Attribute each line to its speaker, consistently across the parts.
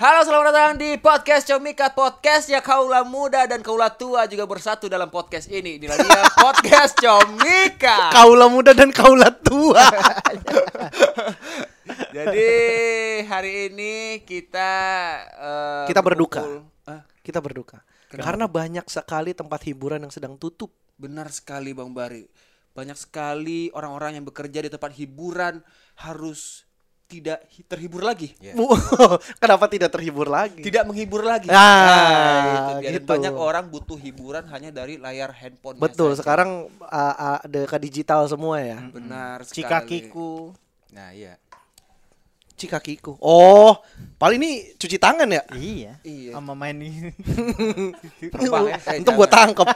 Speaker 1: Halo, selamat datang di podcast Comika Podcast ya kaula muda dan kaula tua juga bersatu dalam podcast ini. Inilah dia podcast Comika.
Speaker 2: Kaula muda dan kaula tua.
Speaker 1: Jadi hari ini kita eh,
Speaker 2: Kita berduka.
Speaker 1: berkumpul. Eh, Hah?
Speaker 2: Kita berduka. Karena banyak sekali tempat hiburan yang sedang tutup.
Speaker 1: Benar sekali Bang Bari. Banyak sekali orang-orang yang bekerja di tempat hiburan harus tidak hi- terhibur lagi.
Speaker 2: Iya. Kenapa ya. tidak terhibur lagi?
Speaker 1: Tidak menghibur lagi.
Speaker 2: Ah,
Speaker 1: itu dia. Dan
Speaker 2: gitu.
Speaker 1: Banyak orang butuh hiburan hanya dari layar handphone.
Speaker 2: Betul, sekarang uh, uh, ada ke digital semua ya.
Speaker 1: Benar sekali.
Speaker 2: Cikakiku.
Speaker 3: Nah iya.
Speaker 2: Cikakiku. Oh, paling ini cuci tangan ya?
Speaker 4: Iya.
Speaker 1: Iya.
Speaker 4: Sama main ini.
Speaker 1: Terbang ya, eh,
Speaker 2: Untung gue
Speaker 1: jangan.
Speaker 2: tangkep.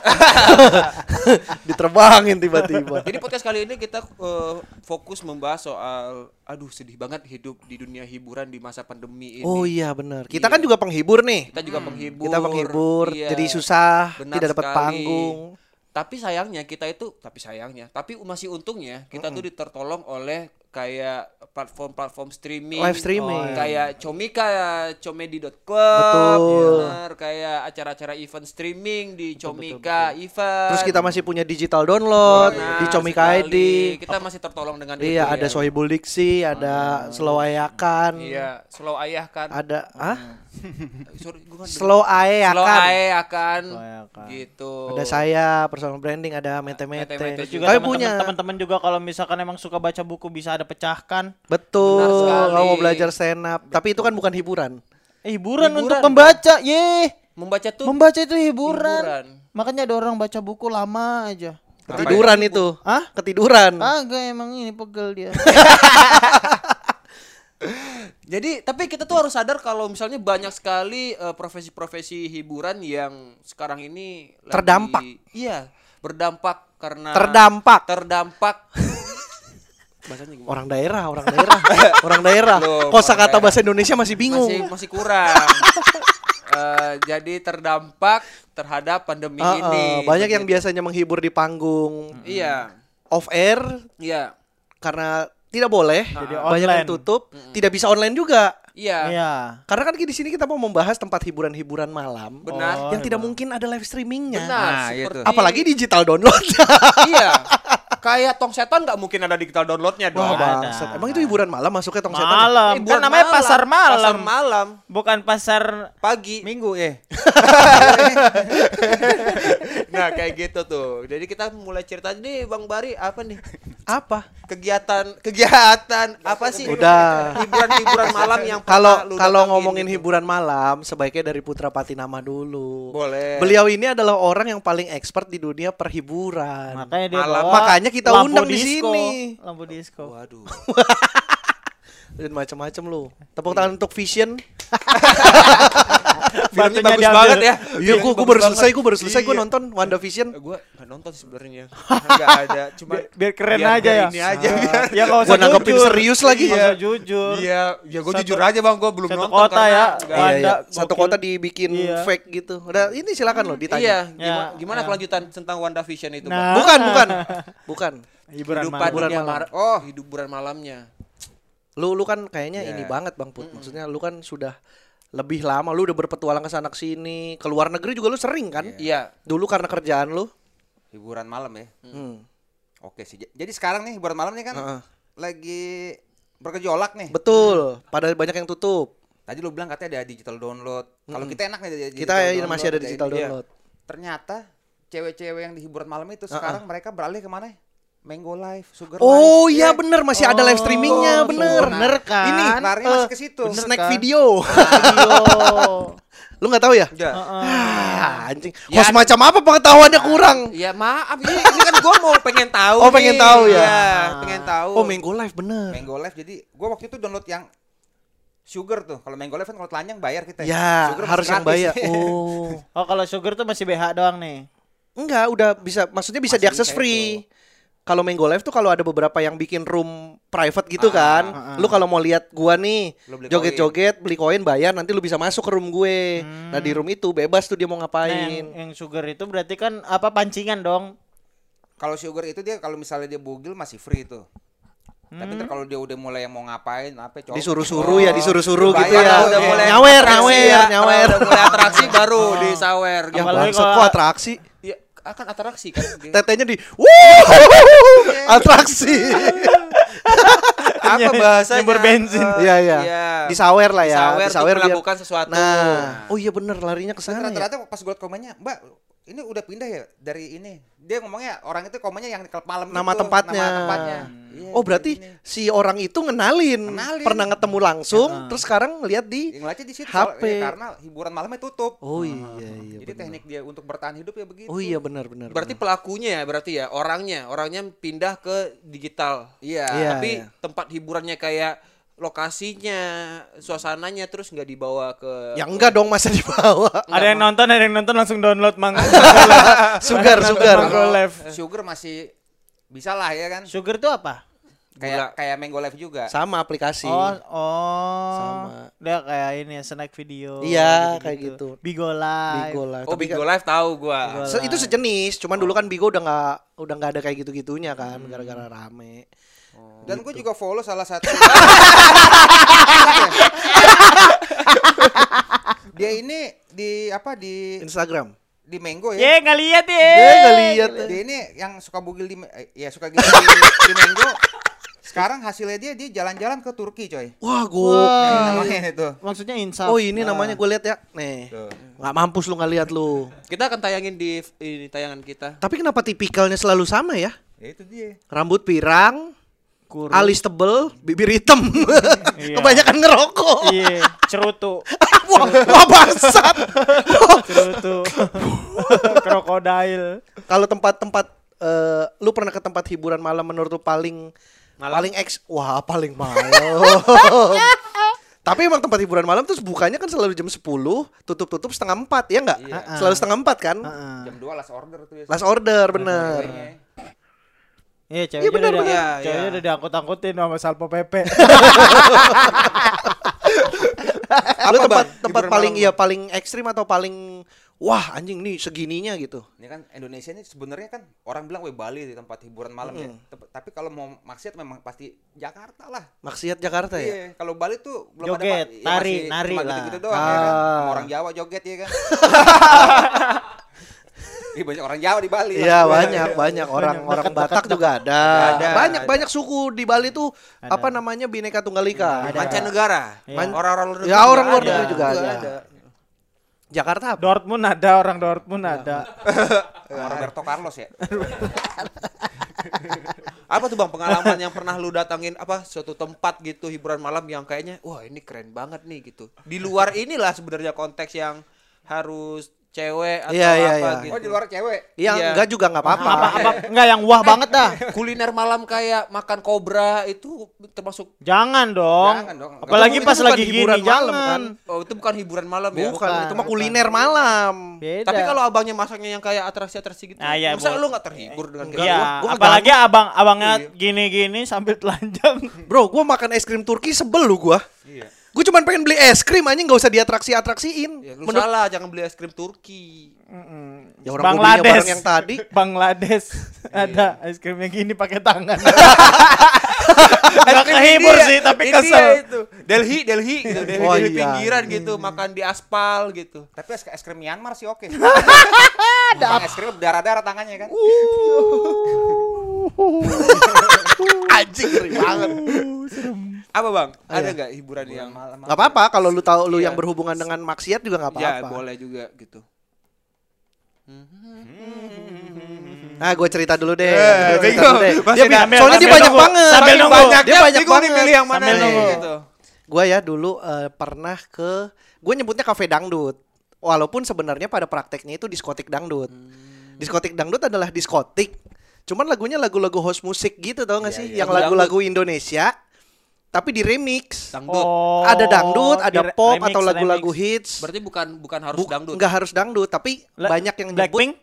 Speaker 2: Diterbangin tiba-tiba.
Speaker 1: Jadi podcast kali ini kita eh, fokus membahas soal aduh sedih banget hidup di dunia hiburan di masa pandemi ini.
Speaker 2: Oh iya benar. Kita
Speaker 1: Iya.
Speaker 2: kan juga penghibur nih.
Speaker 1: Kita juga menghibur.
Speaker 2: Kita penghibur,
Speaker 1: iya.
Speaker 2: jadi susah,
Speaker 1: Benar
Speaker 2: tidak dapat
Speaker 1: sekali.
Speaker 2: panggung.
Speaker 1: Tapi sayangnya kita itu, tapi sayangnya, tapi masih untungnya kita tuh ditertolong oleh kayak platform-platform streaming, Oh,
Speaker 2: Live streaming.
Speaker 1: kayak Comika, comedy.club,
Speaker 2: Betul.
Speaker 1: bener, ya. kayak acara-acara event streaming di Comika event.
Speaker 2: Terus kita masih punya digital download
Speaker 1: Benar
Speaker 2: di Comika ID.
Speaker 1: sekali. Kita masih tertolong dengan
Speaker 2: Iya,
Speaker 1: itu
Speaker 2: ada
Speaker 1: ya.
Speaker 2: Sohibul Diksi, ada Slow Ayakan,
Speaker 1: Iya, slow ayah kan.
Speaker 2: ada Hmm. ah
Speaker 1: Sorry, gua kan
Speaker 2: Slow Ayakan,
Speaker 1: slow ayah kan.
Speaker 4: Slow ayah kan.
Speaker 1: Gitu.
Speaker 2: ada saya personal branding, ada Mete Mete.
Speaker 1: Mete-mete
Speaker 4: Terus juga
Speaker 1: juga
Speaker 2: Kami
Speaker 4: teman-teman-
Speaker 2: punya
Speaker 4: teman-teman juga kalau misalkan emang suka baca buku bisa ada pecahkan.
Speaker 2: betul.
Speaker 1: Benar sekali.
Speaker 2: Kalau mau belajar stand up, tapi itu kan bukan hiburan.
Speaker 4: Eh, hiburan,
Speaker 1: Hiburan.
Speaker 4: untuk membaca. Ye.
Speaker 1: Membaca tuh
Speaker 4: Membaca itu hiburan.
Speaker 1: Hiburan.
Speaker 4: Makanya ada orang baca buku lama aja.
Speaker 2: Ketiduran itu.
Speaker 4: Hah? Ah.
Speaker 2: Ketiduran.
Speaker 4: Agak emang ini pegel dia.
Speaker 1: Jadi tapi kita tuh harus sadar kalau misalnya banyak sekali eh, profesi-profesi hiburan yang sekarang ini lagi-
Speaker 2: Terdampak.
Speaker 1: Iya, berdampak karena
Speaker 2: Terdampak.
Speaker 1: Terdampak. Bahasanya gimana?
Speaker 2: Orang daerah, orang daerah, orang daerah.
Speaker 1: Loh, orang
Speaker 2: Kosakata
Speaker 1: daerah.
Speaker 2: bahasa Indonesia masih bingung.
Speaker 1: Masih masih kurang. Eh, jadi terdampak terhadap pandemi
Speaker 2: Ah, ah,
Speaker 1: ini.
Speaker 2: banyak yang
Speaker 1: Begitu.
Speaker 2: biasanya menghibur di panggung
Speaker 1: Iya.
Speaker 2: off air
Speaker 1: Iya.
Speaker 2: karena tidak boleh,
Speaker 4: Jadi
Speaker 2: banyak yang
Speaker 4: online.
Speaker 2: tutup, tidak bisa online juga.
Speaker 1: Iya.
Speaker 4: Iya.
Speaker 2: Karena kan di sini kita mau membahas tempat hiburan-hiburan malam
Speaker 1: Benar.
Speaker 4: Oh,
Speaker 2: yang tidak
Speaker 4: iya.
Speaker 2: mungkin ada live streamingnya.
Speaker 1: Benar,
Speaker 3: Nah, iya
Speaker 1: seperti
Speaker 3: tuh.
Speaker 2: Apalagi digital download.
Speaker 1: iya. Kayak tong setan nggak mungkin ada digital downloadnya dong.
Speaker 2: Wah,
Speaker 4: Ada.
Speaker 2: bangsat. Emang itu hiburan malam masuknya tong setan? ya?
Speaker 4: Malam.
Speaker 1: Eh,
Speaker 4: kan
Speaker 1: bukan
Speaker 4: namanya pasar malam.
Speaker 1: Pasar malam
Speaker 4: Bukan pasar
Speaker 1: pagi.
Speaker 3: Minggu eh.
Speaker 1: Nah, kayak gitu tuh. Jadi kita mulai cerita nih Bang Bari apa nih?
Speaker 2: Apa?
Speaker 1: Kegiatan kegiatan apa sih?
Speaker 2: Udah.
Speaker 1: Hiburan-hiburan malam yang
Speaker 2: Kalau
Speaker 1: pernah lu
Speaker 2: kalau
Speaker 1: datangin
Speaker 2: ngomongin
Speaker 1: gitu.
Speaker 2: hiburan malam sebaiknya dari Putra Patinama dulu.
Speaker 1: Boleh.
Speaker 2: Beliau ini adalah orang yang paling expert di dunia perhiburan.
Speaker 4: Makanya dia
Speaker 1: Malam.
Speaker 4: bawa
Speaker 2: Makanya kita
Speaker 4: lampu
Speaker 2: undang di
Speaker 4: disco.
Speaker 2: sini.
Speaker 4: Lampu disco.
Speaker 1: Waduh.
Speaker 2: Dan macam-macam lu. Tepuk
Speaker 1: Iya.
Speaker 2: tangan untuk Vision.
Speaker 1: Filmnya
Speaker 4: Batunya
Speaker 1: bagus
Speaker 4: diambil.
Speaker 1: banget ya.
Speaker 2: Iya, gua, gua baru selesai, gua baru selesai gua nonton Wanda Vision.
Speaker 1: Gue gak Eh, nonton sih sebenarnya. Enggak ada, cuma
Speaker 4: Biar, biar keren
Speaker 1: biar
Speaker 4: aja
Speaker 1: gua
Speaker 4: ya.
Speaker 1: Ini aja
Speaker 4: Ah.
Speaker 1: biar.
Speaker 4: Ya kalau
Speaker 2: Gua nanggepin serius lagi.
Speaker 4: Iya. Nggak usah jujur.
Speaker 1: Iya, ya gue
Speaker 4: Satu-
Speaker 1: jujur aja Bang, gue belum
Speaker 4: satu
Speaker 1: nonton
Speaker 4: kota
Speaker 1: karena
Speaker 4: ya.
Speaker 1: nggak-
Speaker 2: Iya, iya.
Speaker 4: Wanda,
Speaker 2: Satu
Speaker 4: gokil.
Speaker 2: kota dibikin
Speaker 4: Iya.
Speaker 2: fake gitu. Udah ini silakan loh ditanya.
Speaker 1: Iya, gimana,
Speaker 4: Ya,
Speaker 1: gimana
Speaker 4: ya.
Speaker 1: kelanjutan tentang WandaVision itu, Bang?
Speaker 4: Nah.
Speaker 2: Bukan, bukan. Bukan.
Speaker 4: Hiburan
Speaker 1: Hidupan
Speaker 4: malam.
Speaker 1: dunia
Speaker 2: Hiburan malam.
Speaker 1: mar- Oh, hiburan malamnya.
Speaker 2: Lu lu kan kayaknya
Speaker 3: Ya.
Speaker 2: ini banget Bang Put. Maksudnya lu kan sudah lebih lama lu udah berpetualang ke sana ke sini, ke luar negeri juga lu sering kan?
Speaker 1: Iya.
Speaker 2: Dulu karena kerjaan lu.
Speaker 3: Hiburan malam ya.
Speaker 2: Hmm.
Speaker 3: Oke sih. J- Jadi sekarang nih hiburan malam nih kan
Speaker 2: Heeh.
Speaker 3: lagi bergejolak nih.
Speaker 2: Betul. Pada banyak yang tutup.
Speaker 3: Tadi lu bilang katanya ada digital download. Kalau kita enak nih ada digital
Speaker 2: Hmm. Kita ini masih ada
Speaker 3: ada
Speaker 2: digital
Speaker 3: ini. Iya.
Speaker 2: download.
Speaker 3: Ternyata cewek-cewek yang di hiburan malam itu sekarang mereka beralih kemana? Mango Life, Sugar
Speaker 2: Oh
Speaker 3: Life.
Speaker 2: iya bener masih ada live streamingnya bener.
Speaker 4: bener kan?
Speaker 2: Ini
Speaker 3: Ini larinya masih ke situ.
Speaker 4: bener.
Speaker 2: snack
Speaker 4: kan?
Speaker 2: video.
Speaker 4: Video.
Speaker 2: lu nggak tahu ya?
Speaker 3: Enggak.
Speaker 2: Ah, anjing.
Speaker 1: Ya,
Speaker 2: Host macam apa pengetahuannya kurang?
Speaker 1: Ya maaf, ini, ini kan gue mau pengen tahu.
Speaker 2: Oh, pengen
Speaker 1: nih.
Speaker 2: tahu ya?
Speaker 1: Iya, pengen tahu.
Speaker 2: Oh, Mango Live bener.
Speaker 3: Mango Life jadi gua waktu itu download yang Sugar tuh. Kalau Mango Live kan kalau telanjang bayar kita.
Speaker 2: Ya,
Speaker 3: Sugar masih
Speaker 2: harus yang
Speaker 3: gratis.
Speaker 2: bayar. Oh.
Speaker 4: Oh kalau sugar tuh masih BH doang nih.
Speaker 2: Enggak, udah bisa maksudnya bisa
Speaker 3: Masih
Speaker 2: diakses
Speaker 3: bisa
Speaker 2: free. Kalau Mango Live tuh kalau ada beberapa yang bikin room private gitu
Speaker 3: Ah,
Speaker 2: kan.
Speaker 4: ah.
Speaker 2: Lu kalau mau lihat gua nih
Speaker 3: Lu beli
Speaker 2: joget-joget, beli koin bayar nanti lu bisa masuk ke room gue. Nah, di room itu bebas tuh dia mau
Speaker 4: Nah, yang,
Speaker 2: ngapain.
Speaker 4: yang sugar itu berarti kan apa pancingan dong?
Speaker 3: Kalau Sugar itu dia kalau misalnya dia bugil masih free tuh. Tapi ntar kalau dia udah mulai yang mau ngapain, apa cowok.
Speaker 2: Disuruh-suruh ya, disuruh-suruh
Speaker 3: Kebayang
Speaker 2: gitu ya.
Speaker 3: kalau udah Iya. mulai
Speaker 2: Nyawer,
Speaker 1: atraksi
Speaker 2: nyawer,
Speaker 1: ya, kalau
Speaker 2: nyawer.
Speaker 1: udah mulai atraksi baru di sawer
Speaker 2: Ya
Speaker 1: gitu.
Speaker 4: Apalagi
Speaker 2: bangsa
Speaker 4: kalau-
Speaker 2: kok atraksi.
Speaker 1: Ya, akan atraksi kan. dia.
Speaker 2: Tetenya di wuh atraksi.
Speaker 1: Apa bahasanya?
Speaker 4: Nyembur bensin.
Speaker 1: Eh,
Speaker 2: Iya, iya. Di sawer lah ya.
Speaker 1: Di sawer,
Speaker 2: Di sawer
Speaker 1: tuh
Speaker 2: dia-
Speaker 1: melakukan sesuatu.
Speaker 2: Nah, oh iya bener larinya ke sana ya.
Speaker 3: Ternyata pas gue liat komennya, Mbak, ini udah pindah ya dari ini. Dia ngomongnya orang itu komennya yang di klub malam
Speaker 2: Nama
Speaker 3: itu,
Speaker 2: tempatnya.
Speaker 3: Nama tempatnya. Iya,
Speaker 2: Oh berarti
Speaker 3: ini.
Speaker 2: si orang itu ngenalin,
Speaker 3: Ngenalin.
Speaker 2: pernah ketemu langsung, terus sekarang lihat di
Speaker 3: yang ngeliatnya di situ
Speaker 2: HP.
Speaker 3: soal- ya, karena hiburan malamnya tutup.
Speaker 2: Oh iya iya.
Speaker 3: Jadi
Speaker 2: bener.
Speaker 3: teknik dia untuk bertahan hidup ya begitu.
Speaker 2: Oh iya benar benar.
Speaker 1: Berarti pelakunya ya, berarti ya orangnya, orangnya pindah ke digital.
Speaker 3: Iya.
Speaker 2: Iya,
Speaker 1: Tapi
Speaker 2: iya.
Speaker 1: tempat hiburannya kayak lokasinya, suasananya terus nggak dibawa ke
Speaker 2: ya enggak dong masa dibawa.
Speaker 4: Ada yang nonton, ada yang nonton langsung download mang.
Speaker 2: sugar
Speaker 4: Nonton
Speaker 2: sugar.
Speaker 4: Mango Live.
Speaker 3: Sugar masih bisa lah ya kan.
Speaker 4: Sugar tuh apa?
Speaker 3: Kayak kayak Mango Live juga.
Speaker 2: Sama aplikasi.
Speaker 4: Oh, oh.
Speaker 2: Sama.
Speaker 4: Dia kayak ini ya, snack video.
Speaker 2: Iya, kayak gitu.
Speaker 4: Bigo Live.
Speaker 2: Bigo Live.
Speaker 1: Oh,
Speaker 2: Tapi
Speaker 1: Bigo
Speaker 2: kan-
Speaker 1: Live tahu gua.
Speaker 2: se- itu sejenis, cuman dulu kan Bigo udah nggak udah nggak ada kayak gitu-gitunya kan gara-gara rame.
Speaker 3: Dan gue juga follow salah satu. dia ini di apa di
Speaker 2: Instagram.
Speaker 3: di Mango
Speaker 4: Ye,
Speaker 3: ya.
Speaker 4: nggak lihat ye.
Speaker 2: Eh enggak lihat.
Speaker 3: Dia ini yang suka bugil di eh, ya suka gila di, di Mango. Sekarang hasilnya dia dia jalan-jalan ke Turki, coy.
Speaker 2: Wah, gua.
Speaker 3: Namanya itu.
Speaker 4: Maksudnya insaf.
Speaker 2: Oh, ini namanya gue lihat ya. Nih. Nggak mampus lu nggak lihat lu.
Speaker 1: Kita akan tayangin di ini tayangan kita.
Speaker 2: Tapi kenapa tipikalnya selalu sama ya?
Speaker 3: Ya itu dia.
Speaker 2: Rambut pirang,
Speaker 4: Kurus.
Speaker 2: alis tebel, bibir hitam.
Speaker 4: Iya.
Speaker 2: Kebanyakan ngerokok.
Speaker 4: Iya, cerutu.
Speaker 2: wah, wah bangsat.
Speaker 4: Cerutu. Krokodil.
Speaker 2: Kalau tempat-tempat eh, lu pernah ke tempat hiburan malam menurut lu paling paling eks wah paling malam. Tapi emang tempat hiburan malam terus bukanya kan selalu jam 10, tutup-tutup setengah 4 ya enggak?
Speaker 4: Iya.
Speaker 2: Selalu setengah 4 kan?
Speaker 3: Jam 2 last order tuh ya.
Speaker 2: Last order bener.
Speaker 3: Kayaknya.
Speaker 4: Iya, ceweknya
Speaker 2: benar,
Speaker 4: udah,
Speaker 1: benar.
Speaker 4: ceweknya
Speaker 1: Iya,
Speaker 4: udah diangkut-angkutin sama Salpo Pepe.
Speaker 2: Eh, lu tempat
Speaker 3: Bang?
Speaker 2: tempat
Speaker 3: Hiburan
Speaker 2: paling
Speaker 3: malam
Speaker 2: iya paling ekstrim atau paling wah anjing nih segininya gitu.
Speaker 3: Ini kan Indonesia ini sebenarnya kan orang bilang weh Bali di tempat hiburan malam ya. Tep- Tapi kalau mau maksiat memang pasti Jakarta lah.
Speaker 2: Maksiat Jakarta ya.
Speaker 3: Iya, kalau Bali tuh belum
Speaker 4: Joget,
Speaker 3: ada ya
Speaker 4: tari, nari lah.
Speaker 3: gitu doang ya
Speaker 2: Ah.
Speaker 3: kan. Sama Orang Jawa joget ya kan. Ih, banyak orang Jawa di Bali.
Speaker 2: Iya
Speaker 3: maksud gue.
Speaker 2: banyak banyak orang orang Batak juga ada.
Speaker 1: Ada,
Speaker 2: banyak
Speaker 1: ada.
Speaker 2: banyak suku di Bali tuh apa namanya Bhinneka Tunggal Ika.
Speaker 1: Mancanegara.
Speaker 2: Man-
Speaker 1: Orang-orang luar juga
Speaker 2: Ya, orang luar
Speaker 1: ada.
Speaker 2: negeri juga
Speaker 1: Juga
Speaker 2: ada. Jakarta apa?
Speaker 4: Dortmund ada, orang Dortmund ada.
Speaker 2: Iya.
Speaker 3: Orang Roberto Carlos ya.
Speaker 1: Apa tuh Bang pengalaman yang pernah lu datangin apa suatu tempat gitu hiburan malam yang kayaknya wah ini keren banget nih gitu. Di luar inilah sebenarnya konteks yang harus cewek atau
Speaker 2: Iya, iya,
Speaker 1: apa
Speaker 2: iya.
Speaker 1: gitu.
Speaker 3: Oh, di luar cewek.
Speaker 2: Iya
Speaker 1: Iya.
Speaker 2: enggak juga enggak apa-apa.
Speaker 4: Apa, apa, enggak yang
Speaker 2: Eh,
Speaker 4: wah banget dah.
Speaker 1: Kuliner malam kayak makan kobra itu termasuk
Speaker 4: Jangan dong.
Speaker 3: Jangan dong.
Speaker 4: Apalagi
Speaker 2: Itu
Speaker 4: pas
Speaker 2: bukan
Speaker 4: lagi gini
Speaker 2: hiburan malam,
Speaker 4: jangan.
Speaker 2: kan?
Speaker 1: oh itu bukan hiburan malam ya.
Speaker 2: Bukan, itu mah
Speaker 4: bukan.
Speaker 2: kuliner malam.
Speaker 4: Beda.
Speaker 1: Tapi kalau abangnya masaknya yang kayak atraksi-atraksi gitu,
Speaker 4: Ah, iya,
Speaker 1: masa
Speaker 4: Bu.
Speaker 1: lu nggak terhibur dengan kayak
Speaker 4: Iya,
Speaker 1: gitu?
Speaker 2: gua Iya.
Speaker 4: apalagi abang-abangnya gini-gini sambil telanjang.
Speaker 2: Bro, gua makan es krim Turki sebel lu gua.
Speaker 3: Iya.
Speaker 2: Gua cuman pengen beli es krim anjing enggak usah diatraksi-atraksiin.
Speaker 1: Ya, lu
Speaker 2: Menurut
Speaker 1: salah jangan beli es krim Turki.
Speaker 2: ya orang gua belinya barang yang tadi. Iya.
Speaker 4: Bangladesh ada es krim yang gini pakai tangan.
Speaker 1: Kan
Speaker 4: Gak kehibur
Speaker 1: India,
Speaker 4: sih tapi
Speaker 1: India
Speaker 4: kesel.
Speaker 1: itu. Delhi, Delhi gitu, Delhi,
Speaker 2: Oh,
Speaker 1: Delhi
Speaker 2: iya.
Speaker 1: pinggiran gitu, makan di aspal gitu.
Speaker 3: Tapi es, es krim Myanmar sih oke. Ada es krim darah-darah tangannya kan.
Speaker 1: Anjing ngeri banget. Apa Bang?
Speaker 2: Oh, iya.
Speaker 1: Ada nggak hiburan yang
Speaker 3: Malam.
Speaker 2: Gak apa-apa kalau lu tahu lu
Speaker 1: Iya.
Speaker 2: yang berhubungan dengan maksiat juga gak
Speaker 1: ya
Speaker 2: apa-apa.
Speaker 1: boleh juga gitu.
Speaker 2: Nah, gue cerita dulu
Speaker 1: Eh,
Speaker 2: deh. Gua cerita
Speaker 1: bingung.
Speaker 2: dulu deh.
Speaker 1: Masih
Speaker 2: Dia bi-
Speaker 4: sambil-
Speaker 2: soalnya dia
Speaker 4: sambil
Speaker 2: banyak
Speaker 4: nunggu.
Speaker 2: banget.
Speaker 4: Sambil
Speaker 2: Saking
Speaker 4: nunggu. Oh.
Speaker 2: banyaknya,
Speaker 1: Dia
Speaker 2: banyak
Speaker 1: bingung nih
Speaker 2: banget.
Speaker 1: kan? milih yang mana
Speaker 4: Sambil
Speaker 1: nih,
Speaker 4: nunggu.
Speaker 1: gitu.
Speaker 2: Gue ya dulu eh, pernah ke gue nyebutnya kafe dangdut. Walaupun sebenarnya pada prakteknya itu diskotik dangdut.
Speaker 1: Hmm.
Speaker 2: Diskotik dangdut adalah diskotik. Cuman lagunya lagu-lagu house musik gitu tau gak sih? Yang
Speaker 1: Iya, Lagu
Speaker 2: lagu-lagu Indonesia tapi di remix.
Speaker 1: Dangdut.
Speaker 2: ada
Speaker 1: Oh,
Speaker 2: dangdut, ada
Speaker 4: di-
Speaker 2: pop
Speaker 4: Oh, remix,
Speaker 2: atau lagu-lagu
Speaker 4: remix.
Speaker 2: hits.
Speaker 1: Berarti bukan bukan harus
Speaker 2: Buk-
Speaker 1: dangdut.
Speaker 2: nggak harus dangdut, tapi
Speaker 4: La-
Speaker 2: banyak yang nyebut
Speaker 4: Blackpink.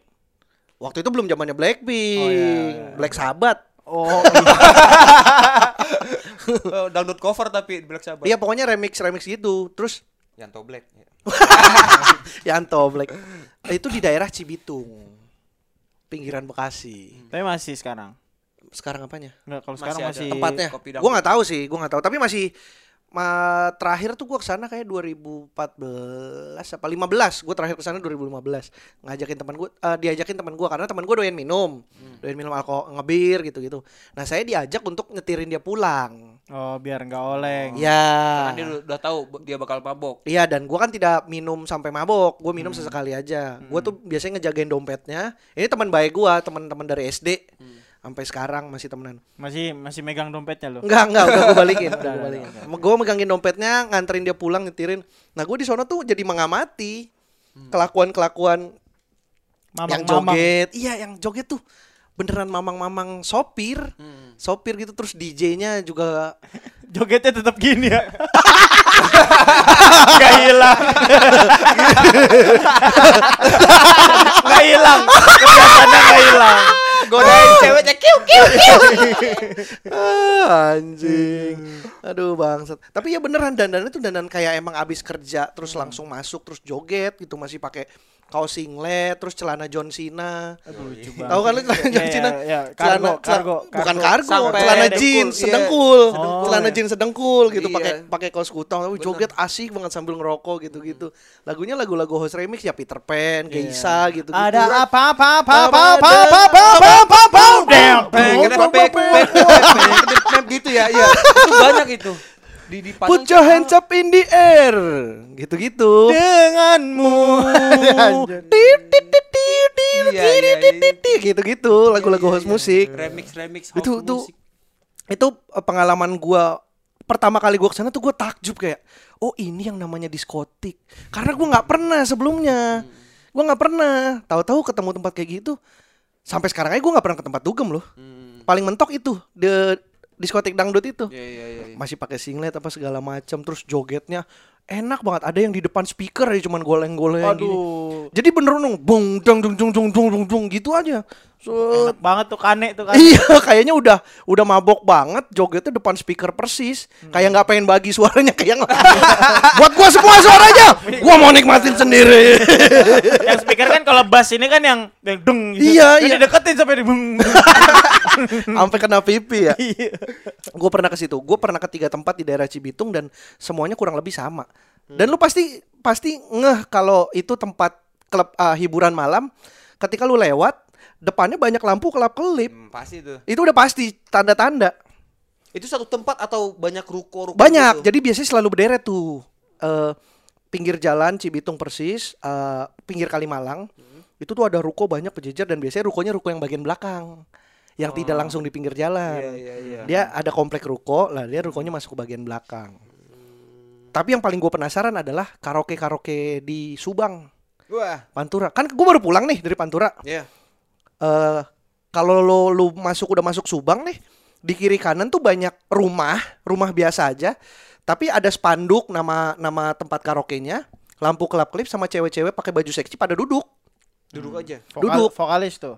Speaker 2: waktu itu belum zamannya Blackpink,
Speaker 1: Oh, iya,
Speaker 2: Black Sabbath.
Speaker 4: Oh,
Speaker 1: Eh, dangdut cover tapi Black Sabbath.
Speaker 2: Iya pokoknya remix remix gitu. Terus ya
Speaker 3: Yanto Black.
Speaker 2: Yanto Black itu di daerah Cibitung, pinggiran Bekasi.
Speaker 4: tapi masih sekarang.
Speaker 2: sekarang apanya?
Speaker 4: Nggak, kalau sekarang
Speaker 1: Masih ada.
Speaker 4: masih,
Speaker 2: Tempatnya.
Speaker 1: Kopi Dangdut.
Speaker 2: Gua nggak tahu sih, gua nggak tahu. Tapi masih ma terakhir tuh gua kesana kayak 2014 apa 15. Gua terakhir kesana 2015. Ngajakin teman gua eh, diajakin teman gua karena teman gua doyan minum.
Speaker 1: Hmm.
Speaker 2: Doyan minum alkohol, ngebir gitu-gitu. Nah, saya diajak untuk nyetirin dia pulang.
Speaker 4: Oh, biar nggak oleng.
Speaker 1: Karena
Speaker 2: Ya.
Speaker 1: Kan dia udah- udah tahu b- dia bakal mabok.
Speaker 2: Iya dan gua kan tidak minum sampai mabok, gue minum sesekali aja. Gua tuh biasanya ngejagain dompetnya. Ini teman baik gua, teman-teman dari SD sampai sekarang masih temenan.
Speaker 4: Masih masih megang dompetnya loh.
Speaker 2: Enggak enggak udah gue balikin, udah gue balikin. Gue megangin dompetnya, nganterin dia pulang nyetirin. Nah gue di sono tuh jadi mengamati Hmm. kelakuan-kelakuan yang
Speaker 4: Mamang-mamang.
Speaker 2: joget, iya yang joget tuh beneran mamang-mamang sopir, sopir gitu terus DJ-nya juga
Speaker 4: Jogetnya tetap gini ya. Gak hilang. Gak hilang. Kelihatannya gak hilang.
Speaker 1: Godain
Speaker 4: Oh!
Speaker 1: ceweknya kiu kiu.
Speaker 2: Ah, anjing.
Speaker 4: Hmm.
Speaker 2: Aduh bangsat. Tapi ya beneran dandannya tuh dandan kayak emang abis kerja terus
Speaker 4: Hmm.
Speaker 2: langsung masuk terus joget gitu masih pakai kaos singlet terus celana John Cena.
Speaker 4: Lucu banget.
Speaker 2: Tahu kan lu celana John
Speaker 4: Iya,
Speaker 2: Cena?
Speaker 4: iya, iya.
Speaker 2: Celana-
Speaker 4: Kargo,
Speaker 2: cel-
Speaker 4: kargo,
Speaker 2: bukan
Speaker 4: kargo.
Speaker 2: kargo,
Speaker 1: Sampai
Speaker 2: celana
Speaker 1: dengkul,
Speaker 2: jeans
Speaker 1: iya.
Speaker 4: Oh,
Speaker 2: sedengkul,
Speaker 4: Sedengkul,
Speaker 2: celana
Speaker 1: iya.
Speaker 2: jeans sedengkul gitu
Speaker 1: Iya.
Speaker 2: pakai pakai kaos kutang, tapi joget asik banget sambil ngerokok gitu-gitu.
Speaker 4: Hmm.
Speaker 2: Lagunya lagu-lagu host remix ya Peter Pan, Geisha gitu-gitu.
Speaker 4: Iya. Ada apa apa apa apa
Speaker 2: Apa
Speaker 4: apa
Speaker 2: ada?
Speaker 4: apa apa apa apa apa damn.
Speaker 1: Eh,
Speaker 2: Oh,
Speaker 1: gitu ya, iya. Itu banyak itu. Di di
Speaker 2: Put your hands up in the air. Gitu-gitu.
Speaker 4: denganmu.
Speaker 2: Tit, tit, tit, tit, tit,
Speaker 1: Iya,
Speaker 2: tit,
Speaker 1: iya,
Speaker 2: tit,
Speaker 1: iya.
Speaker 2: tit, tit, gitu-gitu lagu-lagu house musik
Speaker 1: Remix remix
Speaker 2: itu itu itu eh, pengalaman gua pertama kali gua kesana tuh gua takjub kayak oh ini yang namanya diskotik karena gua nggak pernah sebelumnya
Speaker 1: Hmm.
Speaker 2: gua nggak pernah tahu-tahu ketemu tempat kayak gitu sampai sekarang aja gua nggak pernah ke tempat dugem loh
Speaker 1: Hmm.
Speaker 2: paling mentok itu the diskotik dangdut itu
Speaker 1: Iya iya iya.
Speaker 2: masih pakai singlet apa segala macam terus jogetnya enak banget ada yang di depan speaker ya cuman goleng-goleng gini.
Speaker 4: Aduh.
Speaker 2: Jadi beneran dong, bung dong dong dong dong dong dong dong gitu aja. So,
Speaker 4: Enak banget tuh kane tuh kan.
Speaker 2: iya, kayaknya udah udah mabok banget jogetnya depan speaker persis.
Speaker 4: Hmm.
Speaker 2: Kayak nggak pengen bagi suaranya ke yang lain. Buat gua semua suaranya. Gua mau nikmatin sendiri.
Speaker 4: yang speaker kan kalau bass ini kan yang yang deng gitu.
Speaker 2: Iya,
Speaker 4: Jadi
Speaker 2: iya.
Speaker 4: deketin sampai di bung.
Speaker 2: Sampai kena pipi ya.
Speaker 4: Iya.
Speaker 2: Gue pernah ke situ. Gue pernah ke tiga tempat di daerah Cibitung dan semuanya kurang lebih sama. Dan lu pasti pasti ngeh kalau itu tempat klub ah, hiburan malam. Ketika lu lewat, depannya banyak lampu kelap-kelip.
Speaker 3: Hmm, pasti tuh.
Speaker 2: Itu udah pasti tanda-tanda.
Speaker 1: Itu satu tempat atau banyak ruko ruko?
Speaker 2: Banyak.
Speaker 1: gitu?
Speaker 2: Jadi biasanya selalu berderet tuh. Eh pinggir jalan Cibitung persis, eh pinggir Kalimalang.
Speaker 1: Hmm.
Speaker 2: Itu tuh ada ruko banyak penjejer dan biasanya rukonya ruko yang bagian belakang. Yang tidak langsung di pinggir jalan.
Speaker 1: Oh. Iya iya iya.
Speaker 2: Dia ada komplek ruko, lah dia rukonya masuk ke bagian belakang.
Speaker 1: Hmm.
Speaker 2: Tapi yang paling gue penasaran adalah karaoke-karaoke di Subang,
Speaker 3: Wah,
Speaker 2: Pantura. Kan gue baru pulang nih dari Pantura.
Speaker 1: Iya.
Speaker 2: eh kalau lo lu masuk udah masuk Subang nih di kiri kanan tuh banyak rumah rumah biasa aja tapi ada spanduk nama nama tempat karaoke-nya lampu kelap kelip sama cewek-cewek pakai baju seksi pada duduk
Speaker 1: Duduk aja.
Speaker 2: Duduk.
Speaker 4: vokalis tuh.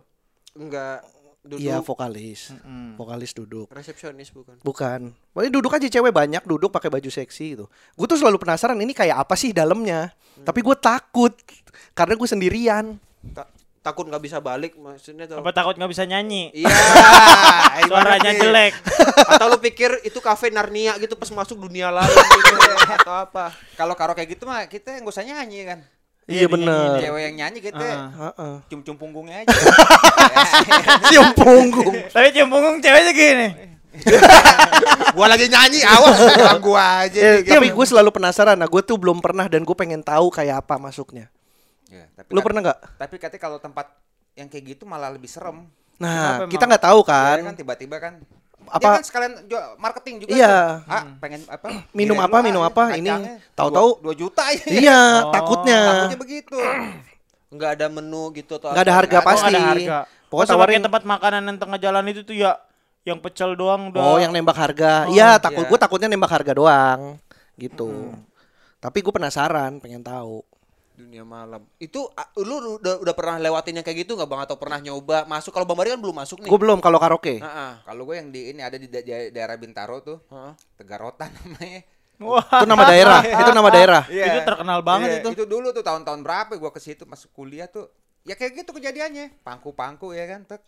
Speaker 1: Enggak duduk.
Speaker 2: iya vokalis
Speaker 4: Mm-mm.
Speaker 2: vokalis duduk
Speaker 1: resepsionis bukan.
Speaker 2: bukan Pokoknya duduk aja cewek banyak duduk pakai baju seksi gitu gue tuh selalu penasaran ini kayak apa sih dalamnya tapi gue takut karena gue sendirian
Speaker 1: Ta- takut nggak bisa balik maksudnya tuh.
Speaker 4: Apa takut nggak bisa nyanyi?
Speaker 1: Iya.
Speaker 3: Ah, eh,
Speaker 1: itu
Speaker 4: Suaranya
Speaker 1: nanti.
Speaker 4: jelek.
Speaker 1: Atau lu pikir itu kafe Narnia gitu pas masuk dunia lain gitu atau apa?
Speaker 3: kalau karaoke gitu mah kita yang gak usah nyanyi kan.
Speaker 4: Iya,
Speaker 2: iya
Speaker 4: dinyanyiin.
Speaker 2: bener
Speaker 3: Cewek yang nyanyi kita
Speaker 4: Ah.
Speaker 2: Heeh.
Speaker 3: cium-cium punggungnya aja.
Speaker 2: siang punggung
Speaker 4: Tapi cium punggung ceweknya gini.
Speaker 1: Gua lagi nyanyi awas bilang gua aja.
Speaker 3: Iya,
Speaker 2: Eh, tapi gue selalu penasaran. Nah, gue tuh belum pernah dan gue pengen tahu kayak apa masuknya.
Speaker 3: Ya, tapi
Speaker 2: Lu
Speaker 3: kat-
Speaker 2: pernah nggak?
Speaker 3: Tapi katanya kalau tempat yang kayak gitu malah lebih serem.
Speaker 2: Nah,
Speaker 4: Kenapa
Speaker 2: kita
Speaker 4: emang?
Speaker 2: nggak tahu
Speaker 3: Kan,
Speaker 2: kan.
Speaker 3: kan tiba-tiba kan
Speaker 2: Apa-
Speaker 3: Dia kan sekalian jual marketing juga
Speaker 2: Iya.
Speaker 3: tuh. Ah, pengen apa?
Speaker 2: Minum
Speaker 3: Giliran
Speaker 2: apa,
Speaker 3: lu,
Speaker 2: minum
Speaker 3: ah,
Speaker 2: apa, ini.
Speaker 3: kacangnya
Speaker 2: Tahu-tahu-
Speaker 3: dua- dua juta ya.
Speaker 2: Iya,
Speaker 4: Oh.
Speaker 2: takutnya.
Speaker 3: Takutnya begitu.
Speaker 1: Enggak ada menu gitu atau
Speaker 2: Nggak ada
Speaker 1: apa.
Speaker 2: harga
Speaker 4: Oh,
Speaker 2: pasti.
Speaker 4: ada harga.
Speaker 2: Pokoknya
Speaker 4: Masa pakai
Speaker 2: tawarin.
Speaker 4: tempat makanan yang tengah jalan itu tuh ya yang pecel doang udah.
Speaker 2: Oh, yang nembak harga. Iya, takut
Speaker 3: iya.
Speaker 2: gue takutnya nembak harga doang gitu. Tapi gue penasaran, pengen tahu.
Speaker 1: dunia malam. Itu a- lu udah, udah pernah lewatin yang kayak gitu nggak Bang atau pernah nyoba masuk? Kalau Bang Bari kan belum masuk nih.
Speaker 2: Gue belum kalau karaoke.
Speaker 1: Heeh.
Speaker 3: Kalau gue yang di ini ada di da- da- daerah Bintaro tuh,
Speaker 1: Heeh.
Speaker 3: Tegarotan namanya.
Speaker 4: Wah,
Speaker 2: Itu nama daerah, itu nama daerah.
Speaker 4: Itu terkenal banget
Speaker 2: Iya.
Speaker 4: itu.
Speaker 3: Iya, Itu dulu tuh tahun-tahun berapa gue ke situ masuk kuliah tuh. Ya kayak gitu kejadiannya. Pangku-pangku ya kan. Tek.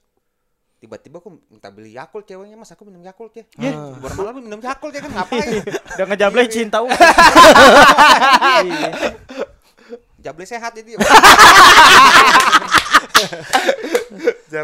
Speaker 3: tiba-tiba aku minta beli Yakult ceweknya mas aku minum Yakult ya
Speaker 2: Iya.
Speaker 4: Yeh.
Speaker 3: hiburan malam minum Yakult ya kan ngapain
Speaker 4: Udah ngejable cinta Ung.
Speaker 2: Iya.
Speaker 4: Iya.
Speaker 3: jable sehat itu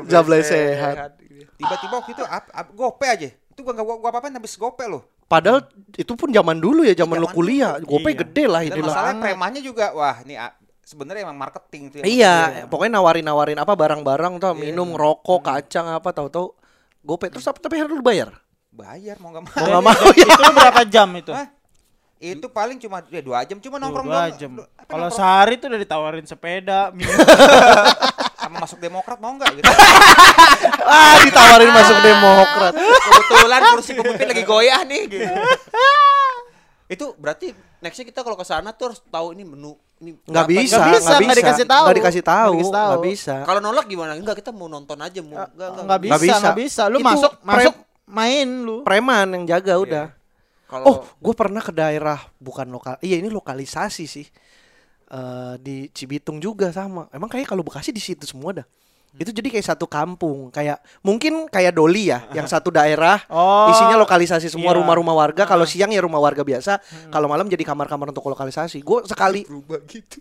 Speaker 2: Jable sehat.
Speaker 3: tiba-tiba waktu itu ap, ap- gope aja itu gua gak gua, gua apa-apain habis gope loh
Speaker 2: Padahal itu pun zaman dulu ya, zaman lu
Speaker 3: Zaman
Speaker 2: kuliah.
Speaker 4: dulu,
Speaker 2: Gopay
Speaker 4: iya.
Speaker 2: gede lah
Speaker 3: dan
Speaker 2: ini
Speaker 3: masalahnya
Speaker 2: lah.
Speaker 3: premannya juga wah ini ah, sebenarnya emang marketing tuh ya.
Speaker 2: Iya, Hmm. pokoknya nawarin-nawarin apa barang-barang tuh, minum, rokok, kacang apa tahu-tahu Gopay terus apa tapi harus lu bayar.
Speaker 3: bayar mau gak
Speaker 2: Mau
Speaker 3: mau
Speaker 2: nggak mau ya.
Speaker 4: Itu berapa jam itu?
Speaker 3: Hah? itu paling cuma ya, dua jam cuma nongkrong
Speaker 4: Dua
Speaker 3: doang.
Speaker 4: jam.
Speaker 3: Lu- apa
Speaker 4: Kalau
Speaker 3: nongkrong
Speaker 4: sehari tuh udah ditawarin sepeda, minum.
Speaker 3: sama masuk demokrat mau nggak gitu
Speaker 2: Ah, ditawarin masuk Demokrat.
Speaker 1: Kebetulan kursi pemimpin lagi goyah nih gitu. Itu berarti nextnya kita kalau ke sana tuh harus tahu ini menu ini
Speaker 2: Nggak
Speaker 1: berapa, gitu.
Speaker 2: bisa,
Speaker 1: nggak
Speaker 4: nggak bisa, nggak dikasih tahu.
Speaker 2: Nggak dikasih tahu,
Speaker 4: Nggak dikasih tahu.
Speaker 2: nggak bisa.
Speaker 1: Kalau nolak gimana? Enggak, kita mau nonton aja mau. Enggak,
Speaker 4: Enggak bisa,
Speaker 2: bisa.
Speaker 4: enggak bisa. Lu
Speaker 2: Itu
Speaker 4: masuk,
Speaker 2: pre-
Speaker 4: masuk main lu.
Speaker 2: Preman yang jaga udah.
Speaker 1: Kalau
Speaker 2: Oh, gue pernah ke daerah bukan lokal. Iya ini lokalisasi sih. Eh di Cibitung juga sama. Emang kayak kalau Bekasi di situ semua dah.
Speaker 4: Hmm.
Speaker 2: Itu jadi kayak satu kampung, kayak mungkin kayak Doli ya, yang satu daerah
Speaker 4: Oh.
Speaker 2: isinya lokalisasi semua
Speaker 4: Iya. Hmm.
Speaker 2: rumah-rumah warga. Kalau siang ya rumah warga biasa, kalau malam jadi kamar-kamar untuk lokalisasi. Gue sekali
Speaker 3: berubah gitu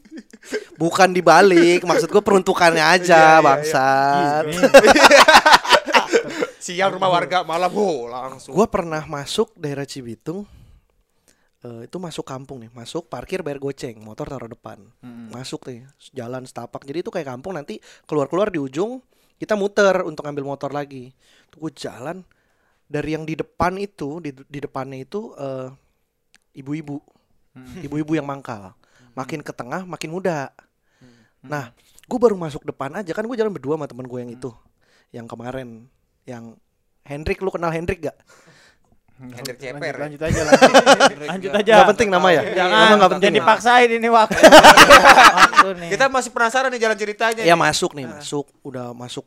Speaker 2: bukan dibalik, maksud gue peruntukannya
Speaker 4: Iya,
Speaker 2: aja, bangsat.
Speaker 1: siang rumah warga malam oh, langsung.
Speaker 2: Gue pernah masuk daerah Cibitung. eh, itu masuk kampung nih, masuk parkir bayar goceng, motor taruh depan. Masuk nih, jalan setapak. Jadi itu kayak kampung nanti keluar-keluar di ujung kita muter untuk ngambil motor lagi. Gue jalan dari yang di depan itu, di, di depannya itu eh, ibu-ibu. Ibu-ibu yang mangkal. Makin ke tengah makin muda. Nah, gue baru masuk depan aja kan gue jalan berdua sama temen gue yang itu. Yang kemarin, yang Hendrik lu kenal Hendrik gak?
Speaker 3: Hendrik
Speaker 4: Lanjut-
Speaker 3: Ceper. ya.
Speaker 4: Lanjut aja lanjut. lanjut aja.
Speaker 2: Gak penting nama
Speaker 1: Oh,
Speaker 2: ya?
Speaker 1: iya.
Speaker 4: Jangan,
Speaker 2: Nama gak penting.
Speaker 4: jadi paksain ini waktu. waktu nih.
Speaker 1: Kita masih penasaran nih jalan ceritanya.
Speaker 2: Ya masuk nih, masuk. Udah masuk.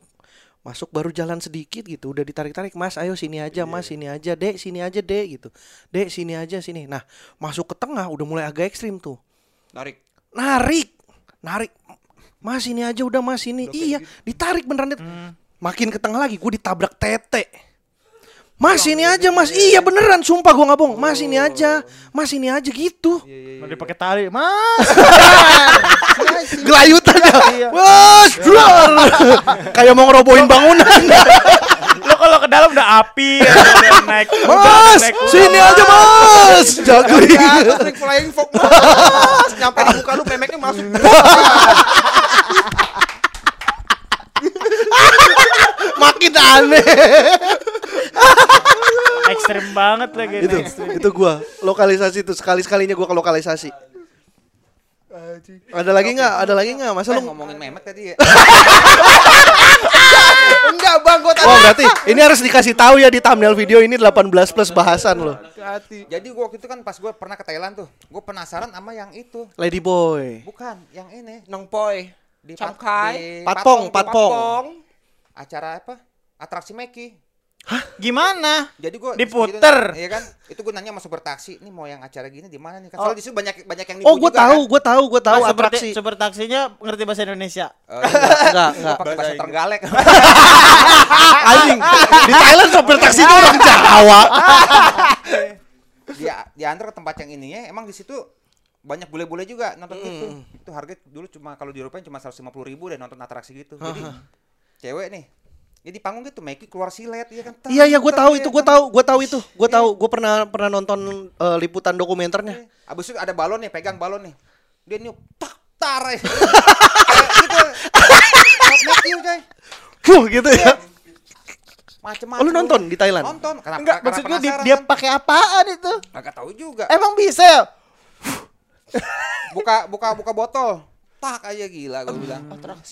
Speaker 2: Masuk baru jalan sedikit gitu, udah ditarik-tarik, "Mas, ayo sini aja, Mas, sini aja, Dek, sini aja, Dek." gitu. "Dek, sini aja, sini." Nah, masuk ke tengah udah mulai agak ekstrim tuh.
Speaker 1: Narik.
Speaker 2: Narik. Narik. Mas ini aja udah Hmm. mas ini. iya, ditarik beneran. Det. Makin ke tengah lagi gue ditabrak tete. Mas ini aja mas. Iya Oh. beneran sumpah gua nggak bohong. Mas ini aja. Mas ini aja gitu.
Speaker 4: Mau dipakai tali. Mas.
Speaker 2: Gelayutan ya.
Speaker 4: Iya.
Speaker 2: Mas. duar. Kayak mau ngerobohin bangunan.
Speaker 4: Lu kalau ke dalam udah api, ya, udah naik. udah
Speaker 2: Mas,
Speaker 4: naik
Speaker 2: sini aja mas. Jagling.
Speaker 3: Ah,
Speaker 1: Narik flying fox. Mas. Nyampe di muka lu memeknya masuk.
Speaker 2: Makin aneh.
Speaker 4: ekstrim banget lagi
Speaker 2: itu
Speaker 4: nih.
Speaker 2: itu gua lokalisasi itu sekali sekalinya gua ke lokalisasi ada lagi nggak ada lagi nggak masa lu
Speaker 3: Selalu ngomongin Mehmet tadi ya
Speaker 1: Enggak, Bang, gua
Speaker 2: wah Oh, berarti ini harus dikasih tahu ya di thumbnail video ini 18 plus bahasan loh
Speaker 1: hati.
Speaker 3: jadi gua waktu itu kan pas gua pernah ke Thailand tuh gua penasaran sama yang itu
Speaker 2: lady boy
Speaker 3: bukan yang ini
Speaker 1: Nongpoy. Di
Speaker 3: Pat-
Speaker 1: Cangkai.
Speaker 3: di
Speaker 2: Patpong, Patpong.
Speaker 3: acara apa atraksi Meki
Speaker 4: Gimana?
Speaker 3: jadi gua
Speaker 4: Diputer.
Speaker 3: iya kan itu gua nanya sama super taksi nih mau yang acara gini di mana nih kan soalnya di situ banyak banyak yang
Speaker 2: oh
Speaker 3: nipu
Speaker 2: gua
Speaker 3: juga
Speaker 2: tahu
Speaker 3: kan.
Speaker 2: gua tahu gua tahu
Speaker 4: Nah, seperti-
Speaker 2: atraksi
Speaker 4: Super taksinya ngerti bahasa Indonesia.
Speaker 3: Eh, iya.
Speaker 2: enggak
Speaker 3: Gua
Speaker 2: enggak
Speaker 3: pakai bahasa Terenggalek
Speaker 2: anjing di Thailand sopir taksi itu orang Jawa
Speaker 3: dia diantar ke tempat yang ininya emang di situ banyak bule-bule juga nonton
Speaker 2: Hmm.
Speaker 3: gitu itu harga dulu cuma kalau di Eropa cuma 150 ribu dan nonton atraksi gitu jadi cewek nih jadi di panggung gitu Meki keluar silet ya kan
Speaker 2: iya iya gua
Speaker 3: Tar,
Speaker 2: tahu
Speaker 3: ya
Speaker 2: itu gua
Speaker 3: kan.
Speaker 2: tahu gua tahu itu gua tahu gua pernah pernah nonton eh, liputan dokumenternya
Speaker 3: abis itu ada balon nih pegang balon nih dia nyup tak tar ya. Kayak gitu Meki udah
Speaker 2: Huh, gitu ya
Speaker 3: macem-macem
Speaker 2: oh lu nonton di Thailand
Speaker 3: nonton karena,
Speaker 4: Enggak,
Speaker 3: karena
Speaker 4: maksud gua dia,
Speaker 3: penasaran
Speaker 4: dia
Speaker 3: kan.
Speaker 4: pakai apaan itu?
Speaker 3: Kagak tahu juga
Speaker 2: Eh.
Speaker 4: Emang bisa ya?
Speaker 3: buka buka buka botol tak aja gila gua bilang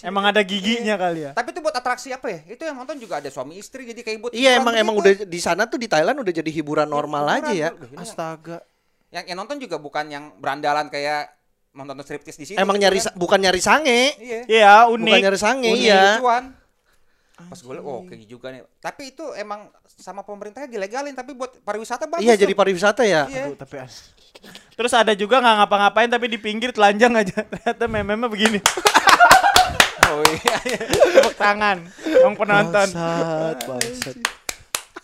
Speaker 4: Emang ada giginya kali ya?
Speaker 3: Tapi itu buat atraksi apa ya? Itu yang nonton juga ada suami istri jadi kayak buat gitu.
Speaker 2: Iya
Speaker 3: hiburan
Speaker 2: emang emang udah
Speaker 3: begitu.
Speaker 2: di sana tuh di Thailand udah jadi hiburan normal
Speaker 3: hiburan
Speaker 2: aja ya.
Speaker 3: dulu. Ini-
Speaker 2: Astaga.
Speaker 3: yang, yang nonton juga bukan yang berandalan kayak nonton striptease di sini.
Speaker 2: Emang
Speaker 3: gitu
Speaker 2: nyari
Speaker 3: kan.
Speaker 2: sa- bukan nyari sange.
Speaker 3: Iya.
Speaker 4: Iya,
Speaker 2: Bukan
Speaker 4: unik.
Speaker 2: nyari sange
Speaker 3: Unik, gitu,
Speaker 2: iya.
Speaker 3: lucuan. Pas gue liat, oh kayak
Speaker 1: gitu
Speaker 3: juga nih. Tapi itu emang sama pemerintahnya dilegalin tapi buat pariwisata bagus.
Speaker 2: Iya
Speaker 3: tuh.
Speaker 2: jadi pariwisata ya.
Speaker 3: Iya.
Speaker 4: Aduh, tapi as- Terus ada juga nggak ngapa-ngapain tapi di pinggir telanjang aja. Ternyata mememnya begini.
Speaker 3: Oh iya.
Speaker 4: Tepuk tangan yang penonton.
Speaker 2: Bangsat, bangsat.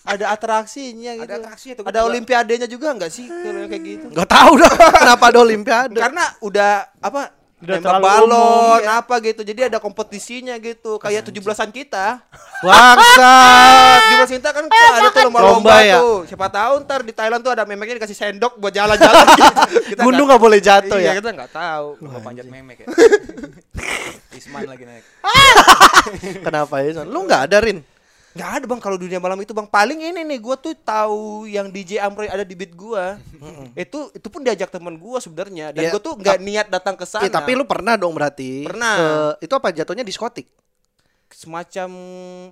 Speaker 1: Ada atraksinya gitu.
Speaker 3: Ada atraksinya tuh, gua
Speaker 1: Ada
Speaker 3: juga.
Speaker 1: olimpiadenya juga nggak sih kalau kayak gitu?
Speaker 2: Gak tau dah kenapa ada Olimpiade.
Speaker 1: Karena udah apa?
Speaker 4: Udah
Speaker 1: nembak
Speaker 4: terlalu
Speaker 1: balon
Speaker 4: umum, ya.
Speaker 1: apa gitu. Jadi ada kompetisinya gitu. Kayak 17-an kita.
Speaker 2: Bangsat.
Speaker 1: 17 kita kan ada tuh lomba-lomba
Speaker 2: Lomba ya?
Speaker 1: tuh. Siapa tahu ntar di Thailand tuh ada memeknya dikasih sendok buat jalan-jalan. gitu.
Speaker 2: Gunung gak boleh jatuh
Speaker 1: iya,
Speaker 2: ya.
Speaker 1: kita nggak tahu.
Speaker 3: Gua panjat memek ya. Isman lagi naik.
Speaker 2: Kenapa ya? Son? Lu gak ada Rin?
Speaker 1: Nggak ada bang kalau dunia malam itu bang paling ini nih gue tuh tahu yang DJ Amroy ada di beat gue itu itu pun diajak teman gue sebenarnya dan
Speaker 2: Ya,
Speaker 1: gue tuh nggak niat datang ke sana
Speaker 2: Eh, tapi lu pernah dong berarti.
Speaker 1: Pernah.
Speaker 2: Eh, itu apa jatuhnya diskotik?
Speaker 1: semacam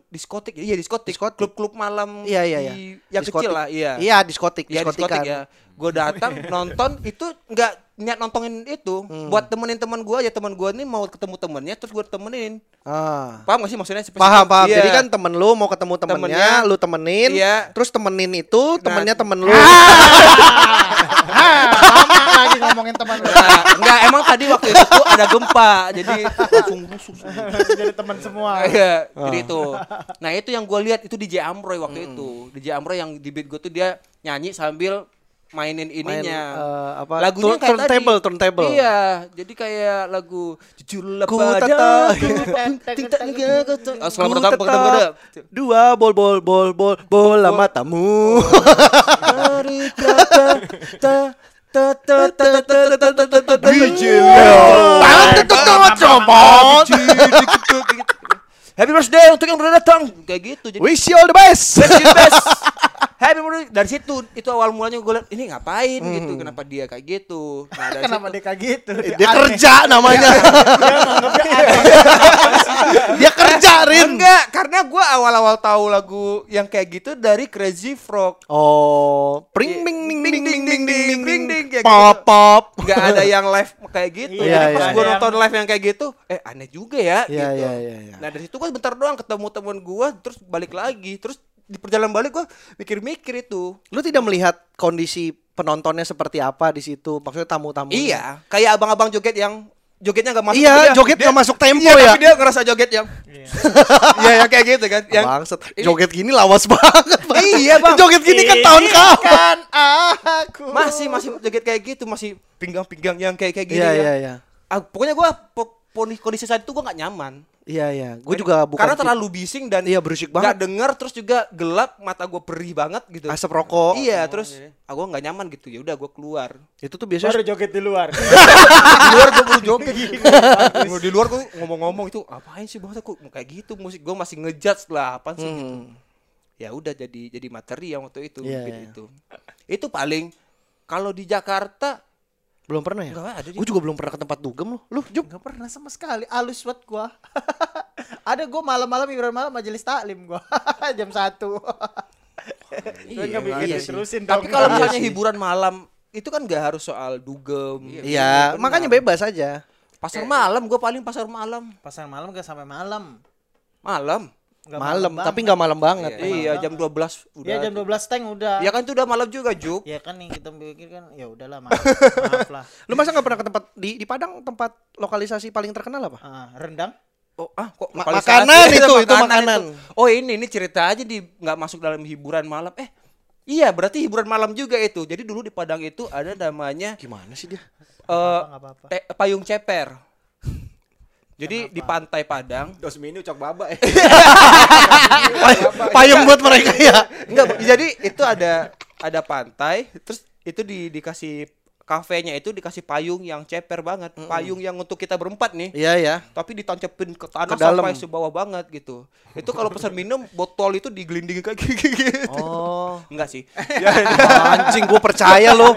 Speaker 1: diskotik iya diskotik
Speaker 2: Diskotik.
Speaker 1: klub-klub malam
Speaker 2: Iya iya iya.
Speaker 1: di- yang
Speaker 2: Diskotik.
Speaker 1: kecil lah iya
Speaker 2: Iya diskotik.
Speaker 1: Iya, diskotik
Speaker 2: diskotikan.
Speaker 1: ya gue datang nonton itu nggak niat nontonin itu
Speaker 2: Hmm.
Speaker 1: buat temenin teman gue aja teman gue nih mau ketemu temennya terus gue temenin
Speaker 2: Ah.
Speaker 1: paham gak sih maksudnya spesifik?
Speaker 2: Paham paham.
Speaker 1: Iya.
Speaker 2: Jadi kan temen lu mau ketemu
Speaker 1: Temennya.
Speaker 2: temennya, lu temenin,
Speaker 1: Iya. Ah,
Speaker 2: terus temenin itu temennya temen lu.
Speaker 5: Lama lagi ngomongin teman lu.
Speaker 1: Nah, enggak emang tadi waktu itu tuh ada gempa jadi langsung rusuh semua.
Speaker 4: Jadi teman semua.
Speaker 1: Iya, jadi
Speaker 2: Ah.
Speaker 1: itu. Nah itu yang gue lihat itu DJ Amroy
Speaker 2: Hmm.
Speaker 1: waktu itu. DJ Amroy yang di beat gue tuh dia nyanyi sambil mainin
Speaker 2: Main,
Speaker 1: ininya.
Speaker 2: eh, apa,
Speaker 1: Lagunya kayak
Speaker 2: turn-
Speaker 1: tadi.
Speaker 2: turntable, turntable.
Speaker 1: Iya, jadi kayak lagu jujurlah
Speaker 2: Ku
Speaker 1: pada
Speaker 2: tetap-
Speaker 1: Oh, Selamat
Speaker 2: Ku
Speaker 1: datang
Speaker 2: tetap Dua bol bol bol bol bola matamu.
Speaker 1: Oh,
Speaker 5: Iya,
Speaker 2: Tangan tetap
Speaker 1: Oh,
Speaker 2: copot.
Speaker 1: Happy birthday untuk yang udah datang kayak gitu. Jadi
Speaker 2: Wish you all the best.
Speaker 1: Best in best. Happy birthday. Dari situ itu awal mulanya gue liat ini ngapain
Speaker 4: Hmm.
Speaker 1: gitu, kenapa dia kayak gitu. Nah,
Speaker 3: Iya,
Speaker 1: dari
Speaker 5: Kenapa
Speaker 1: situ
Speaker 5: dia kayak gitu?
Speaker 2: Dia kerja namanya. Dia kerja Rin.
Speaker 1: enggak, karena gue awal-awal tahu lagu yang kayak gitu dari Crazy Frog.
Speaker 2: Oh, pring
Speaker 1: Iya.
Speaker 2: ming ming
Speaker 1: Ding,
Speaker 2: ding
Speaker 1: ding,
Speaker 2: ding
Speaker 1: ding,
Speaker 2: ding ding
Speaker 1: ding,
Speaker 2: ding
Speaker 1: ding,
Speaker 2: ding
Speaker 1: kayak gitu.
Speaker 2: pop pop.
Speaker 1: Gak ada yang live kayak gitu.
Speaker 4: Iya,
Speaker 1: Jadi pas
Speaker 4: iya.
Speaker 1: gue
Speaker 4: Ada yang-
Speaker 1: nonton live yang kayak gitu, eh aneh juga ya
Speaker 2: Iya,
Speaker 1: gitu.
Speaker 2: iya, iya, iya.
Speaker 1: Nah dari situ kan bentar doang ketemu temen gue, terus balik lagi, terus di perjalanan balik gue mikir-mikir itu.
Speaker 2: Lu tidak melihat kondisi penontonnya seperti apa di situ? Maksudnya tamu-tamu.
Speaker 1: Iya, kayak abang-abang joget yang jogetnya gak masuk. tapi
Speaker 2: Iya,
Speaker 1: dia-
Speaker 2: joget
Speaker 1: dia-
Speaker 2: nggak masuk tempo
Speaker 1: Iya,
Speaker 2: ya.
Speaker 1: tapi dia ngerasa joget yang Iya, yang kayak gitu kan. Yang
Speaker 2: Bangsat, joget gini lawas banget. Bang.
Speaker 1: Iya, Bang.
Speaker 2: Joget gini kan tahun kau.
Speaker 5: Kan aku.
Speaker 1: masih masih joget kayak gitu, masih pinggang-pinggang yang kayak kayak gini.
Speaker 2: Iya,
Speaker 1: ya.
Speaker 2: iya, iya.
Speaker 1: Ah, pokoknya gua po- poni- kondisi saat itu gua nggak nyaman.
Speaker 2: Iya, iya. Gue juga
Speaker 1: Kan
Speaker 2: bukan
Speaker 1: Karena
Speaker 2: tip-
Speaker 1: terlalu bising dan
Speaker 2: Iya, berisik
Speaker 1: nggak
Speaker 2: banget.
Speaker 1: denger terus juga gelap, mata gua perih banget gitu.
Speaker 2: Asap rokok.
Speaker 1: Iya, terus ah, gua nggak nyaman gitu. Ya udah gua keluar.
Speaker 2: Itu tuh biasanya
Speaker 4: Baru joget di luar.
Speaker 1: di luar gua baru joget.
Speaker 5: Iya.
Speaker 1: Gua di luar gua ngomong-ngomong itu apain sih banget aku kayak gitu musik gua masih ngejudge lah apaan sih gitu. Ya udah jadi jadi materi yang waktu itu
Speaker 2: Hmm. Iya,
Speaker 1: mungkin
Speaker 2: iya.
Speaker 1: itu. Itu paling kalau di Jakarta
Speaker 2: belum pernah ya?
Speaker 1: Nggak ada di-
Speaker 2: Gue juga belum pernah ke tempat dugem loh. Lu, Jup.
Speaker 5: Gak pernah sama sekali. Alus banget gua. Ada gua malam-malam hiburan malam majelis taklim gua. Jam 1.
Speaker 4: Gue nggak bikin diterusin dong.
Speaker 1: Tapi kalau
Speaker 2: Iya
Speaker 1: misalnya
Speaker 2: sih.
Speaker 1: hiburan malam itu kan gak harus soal dugem.
Speaker 2: Iya,
Speaker 1: Benar.
Speaker 2: makanya bebas aja.
Speaker 1: Pasar malam, gue paling pasar malam.
Speaker 5: Pasar malam gak sampai malam.
Speaker 1: Malam.
Speaker 5: Nggak
Speaker 2: malam,
Speaker 5: banget.
Speaker 2: tapi nggak malam banget.
Speaker 1: iya, jam 12 udah.
Speaker 5: Ya jam 12 teng udah.
Speaker 2: Iya.
Speaker 1: Ya kan itu udah malam juga, Juk.
Speaker 5: Ya kan nih kita pikir kan ya udahlah maaf, maaf lah.
Speaker 2: Lu masa nggak pernah ke tempat di di Padang tempat lokalisasi paling terkenal apa?
Speaker 5: Ah, rendang.
Speaker 1: Oh, ah kok
Speaker 2: Ma-
Speaker 1: lokalisasi?
Speaker 2: makanan itu, itu makanan.
Speaker 1: Oh, ini ini cerita aja di nggak masuk dalam hiburan malam. Eh, iya berarti hiburan malam juga itu. Jadi dulu di Padang itu ada namanya
Speaker 2: Gimana sih dia?
Speaker 1: eh
Speaker 5: nggak apa-apa.
Speaker 1: te- payung ceper. Jadi di pantai Padang
Speaker 3: Dos mini ucok baba ya.
Speaker 2: Payung buat mereka ya.
Speaker 1: Enggak, Bu. jadi itu ada ada pantai, terus itu di dikasih kafenya itu dikasih payung yang ceper banget, payung yang untuk kita berempat nih.
Speaker 2: Iya ya.
Speaker 1: Tapi ditancapin ke tanah
Speaker 2: Ke dalam.
Speaker 1: sampai sebawah banget gitu. Itu kalau pesan minum botol itu digelindingin kayak gitu.
Speaker 2: Oh.
Speaker 1: Enggak sih.
Speaker 2: Anjing gue percaya lo.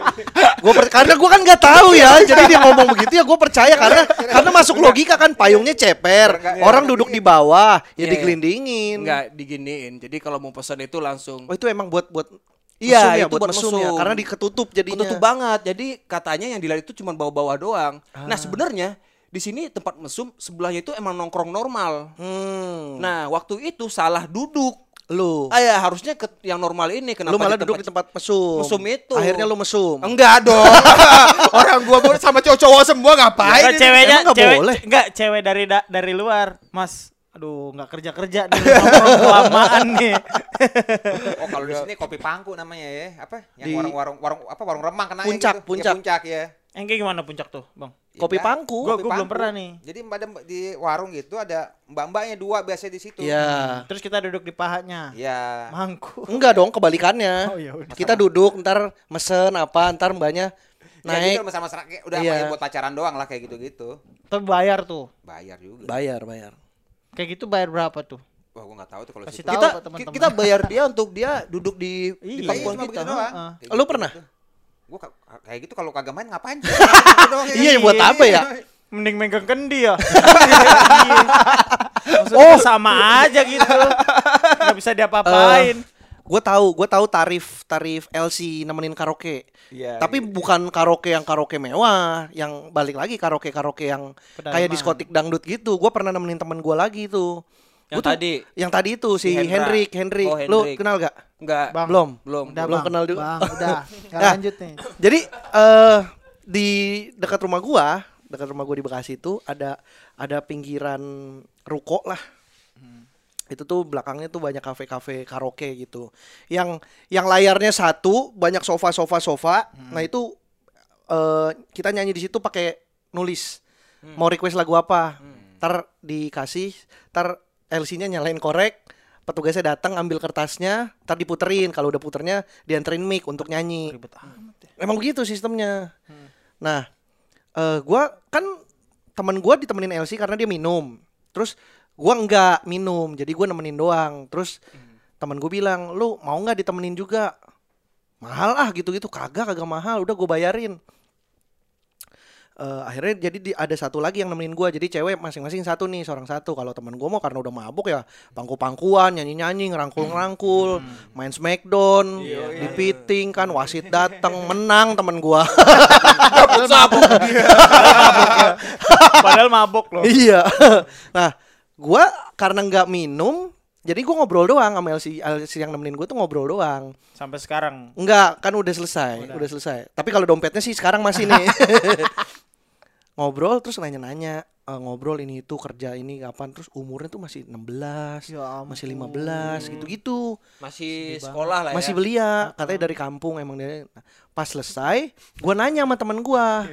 Speaker 2: Gua per- karena gue kan nggak tahu ya. Jadi dia ngomong begitu ya gue percaya karena karena masuk logika kan payungnya ceper. Orang duduk di bawah
Speaker 1: Iya,
Speaker 2: ya
Speaker 1: iya.
Speaker 2: digelindingin.
Speaker 1: Enggak diginiin. Jadi kalau mau pesan itu langsung
Speaker 2: Oh itu emang buat buat
Speaker 1: Iya,
Speaker 2: mesum ya,
Speaker 1: itu buat
Speaker 2: ya.
Speaker 1: mesum.
Speaker 2: Karena diketutup jadinya.
Speaker 1: ketutup banget. Jadi katanya yang dilihat itu cuma bawa-bawa doang. Nah, sebenarnya di sini tempat mesum sebelahnya itu emang nongkrong normal.
Speaker 2: Hmm.
Speaker 1: Nah, waktu itu salah duduk.
Speaker 2: Lu.
Speaker 1: Ah ya harusnya ke yang normal ini kenapa
Speaker 2: lu malah
Speaker 1: di
Speaker 2: duduk di
Speaker 1: tempat-
Speaker 2: tempat mesum.
Speaker 1: Mesum itu.
Speaker 2: Akhirnya lu mesum.
Speaker 1: Enggak dong. Orang gua gua sama cowok-cowok semua ngapain?
Speaker 4: Enggak ceweknya
Speaker 2: Emang nggak
Speaker 4: cewek
Speaker 2: boleh?
Speaker 4: enggak cewek dari da- dari luar. Mas, aduh nggak kerja-kerja nih nongkrong kelamaan nih.
Speaker 3: Oh kalau di sini kopi pangku namanya ya. Apa? Yang
Speaker 2: Di-
Speaker 3: warung-warung warung apa warung remang kenanya
Speaker 2: Puncak,
Speaker 3: gitu. Ya,
Speaker 2: puncak.
Speaker 3: puncak ya.
Speaker 4: Yang kayak gimana puncak tuh, Bang?
Speaker 2: Kopi
Speaker 3: Iya.
Speaker 2: pangku.
Speaker 4: Ya kan? Gua-
Speaker 3: Kopi
Speaker 4: gua belum
Speaker 3: pangku.
Speaker 4: pernah nih.
Speaker 3: Jadi ada di warung gitu ada mbak-mbaknya dua biasanya di situ.
Speaker 2: Iya.
Speaker 4: Terus kita duduk di pahanya.
Speaker 3: Iya.
Speaker 4: Mangku.
Speaker 2: Enggak dong, kebalikannya.
Speaker 4: Oh, ya udah.
Speaker 2: Kita duduk, ntar mesen apa, ntar mbaknya
Speaker 3: Naik.
Speaker 2: naik.
Speaker 3: Ya, sama -sama, udah
Speaker 2: Iya.
Speaker 3: pakai buat pacaran doang lah kayak gitu-gitu.
Speaker 4: Tapi bayar tuh.
Speaker 3: Bayar juga.
Speaker 2: Bayar, bayar.
Speaker 4: Kayak gitu bayar berapa tuh?
Speaker 3: Wah, gua enggak tahu tuh kalau
Speaker 4: Kasih
Speaker 3: situ.
Speaker 4: tahu
Speaker 1: Kita
Speaker 4: ke teman-teman.
Speaker 1: kita bayar dia untuk dia duduk di di
Speaker 4: Iya,
Speaker 1: pangkuan
Speaker 3: cuma
Speaker 1: kita.
Speaker 3: begitu doang.
Speaker 4: Heeh.
Speaker 3: Kayak
Speaker 2: Lu
Speaker 3: gitu.
Speaker 2: pernah?
Speaker 3: Gua ka- kayak gitu kalau kagak main ngapain? Gitu doang ya.
Speaker 2: Iya, buat apa ya?
Speaker 4: Mending megang kendi ya. Iya. Maksudnya sama aja gitu. Gak bisa diapa-apain.
Speaker 2: Gue tahu, gue tahu tarif tarif LC nemenin karaoke.
Speaker 3: Iya,
Speaker 2: Tapi bukan karaoke yang karaoke mewah, yang balik lagi karaoke karaoke yang
Speaker 4: Pedalaman.
Speaker 2: kayak diskotik dangdut gitu. Gue pernah nemenin temen gue lagi tuh.
Speaker 1: Yang
Speaker 2: Gua tuh-
Speaker 1: tadi?
Speaker 2: yang tadi itu si
Speaker 1: Si Hendra.
Speaker 2: Hendrik, Hendrik.
Speaker 1: Oh,
Speaker 2: Lu
Speaker 1: Hendrik.
Speaker 2: kenal gak?
Speaker 1: Enggak.
Speaker 4: Bang.
Speaker 2: Belum.
Speaker 1: Belum.
Speaker 5: Udah,
Speaker 2: Belum
Speaker 5: Bang.
Speaker 2: kenal dulu.
Speaker 5: Bang, udah. Nggak
Speaker 2: Nah.
Speaker 5: lanjut nih.
Speaker 2: Jadi eh di dekat rumah gua, dekat rumah gua di Bekasi itu ada ada pinggiran ruko lah. Itu tuh belakangnya tuh banyak kafe-kafe karaoke gitu. Yang yang layarnya satu, banyak sofa-sofa sofa. Nah, itu eh kita nyanyi di situ pakai nulis. Mau request lagu apa? Ntar dikasih, ntar LC-nya nyalain korek, petugasnya datang ambil kertasnya, ntar diputerin. Kalau udah puternya dianterin mic untuk nyanyi.
Speaker 4: Ribet amat ya.
Speaker 2: Emang begitu sistemnya. Nah, eh gua kan temen gua ditemenin LC karena dia minum. Terus gua enggak minum, jadi gua nemenin doang. Terus temen gue bilang, "Lu mau nggak ditemenin juga?" Mahal ah gitu-gitu, kagak kagak mahal, udah gue bayarin. Eh akhirnya jadi di- ada satu lagi yang nemenin gua jadi cewek masing-masing satu nih seorang satu kalau temen gua mau karena udah mabuk ya pangku-pangkuan nyanyi-nyanyi ngerangkul-ngerangkul main smackdown di piting kan wasit datang menang temen gua
Speaker 4: Padahal mabok loh.
Speaker 2: iya nah gua karena nggak minum jadi gua ngobrol doang sama LC, LC yang nemenin gua tuh ngobrol doang
Speaker 4: Sampai sekarang.
Speaker 2: Enggak, kan udah selesai, udah, selesai. Tapi kalau dompetnya sih sekarang masih nih. ngobrol terus nanya-nanya, eh, ngobrol ini itu kerja ini kapan terus umurnya tuh masih 16,
Speaker 5: Ya ampun.
Speaker 2: masih 15 gitu-gitu.
Speaker 1: Masih sekolah lah ya.
Speaker 2: Masih belia, katanya dari kampung emang dia. Nah, Pas selesai, gua nanya sama temen gua.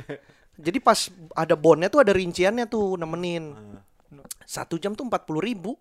Speaker 2: Jadi pas ada bonnya tuh ada rinciannya tuh nemenin. Satu jam tuh 40 ribu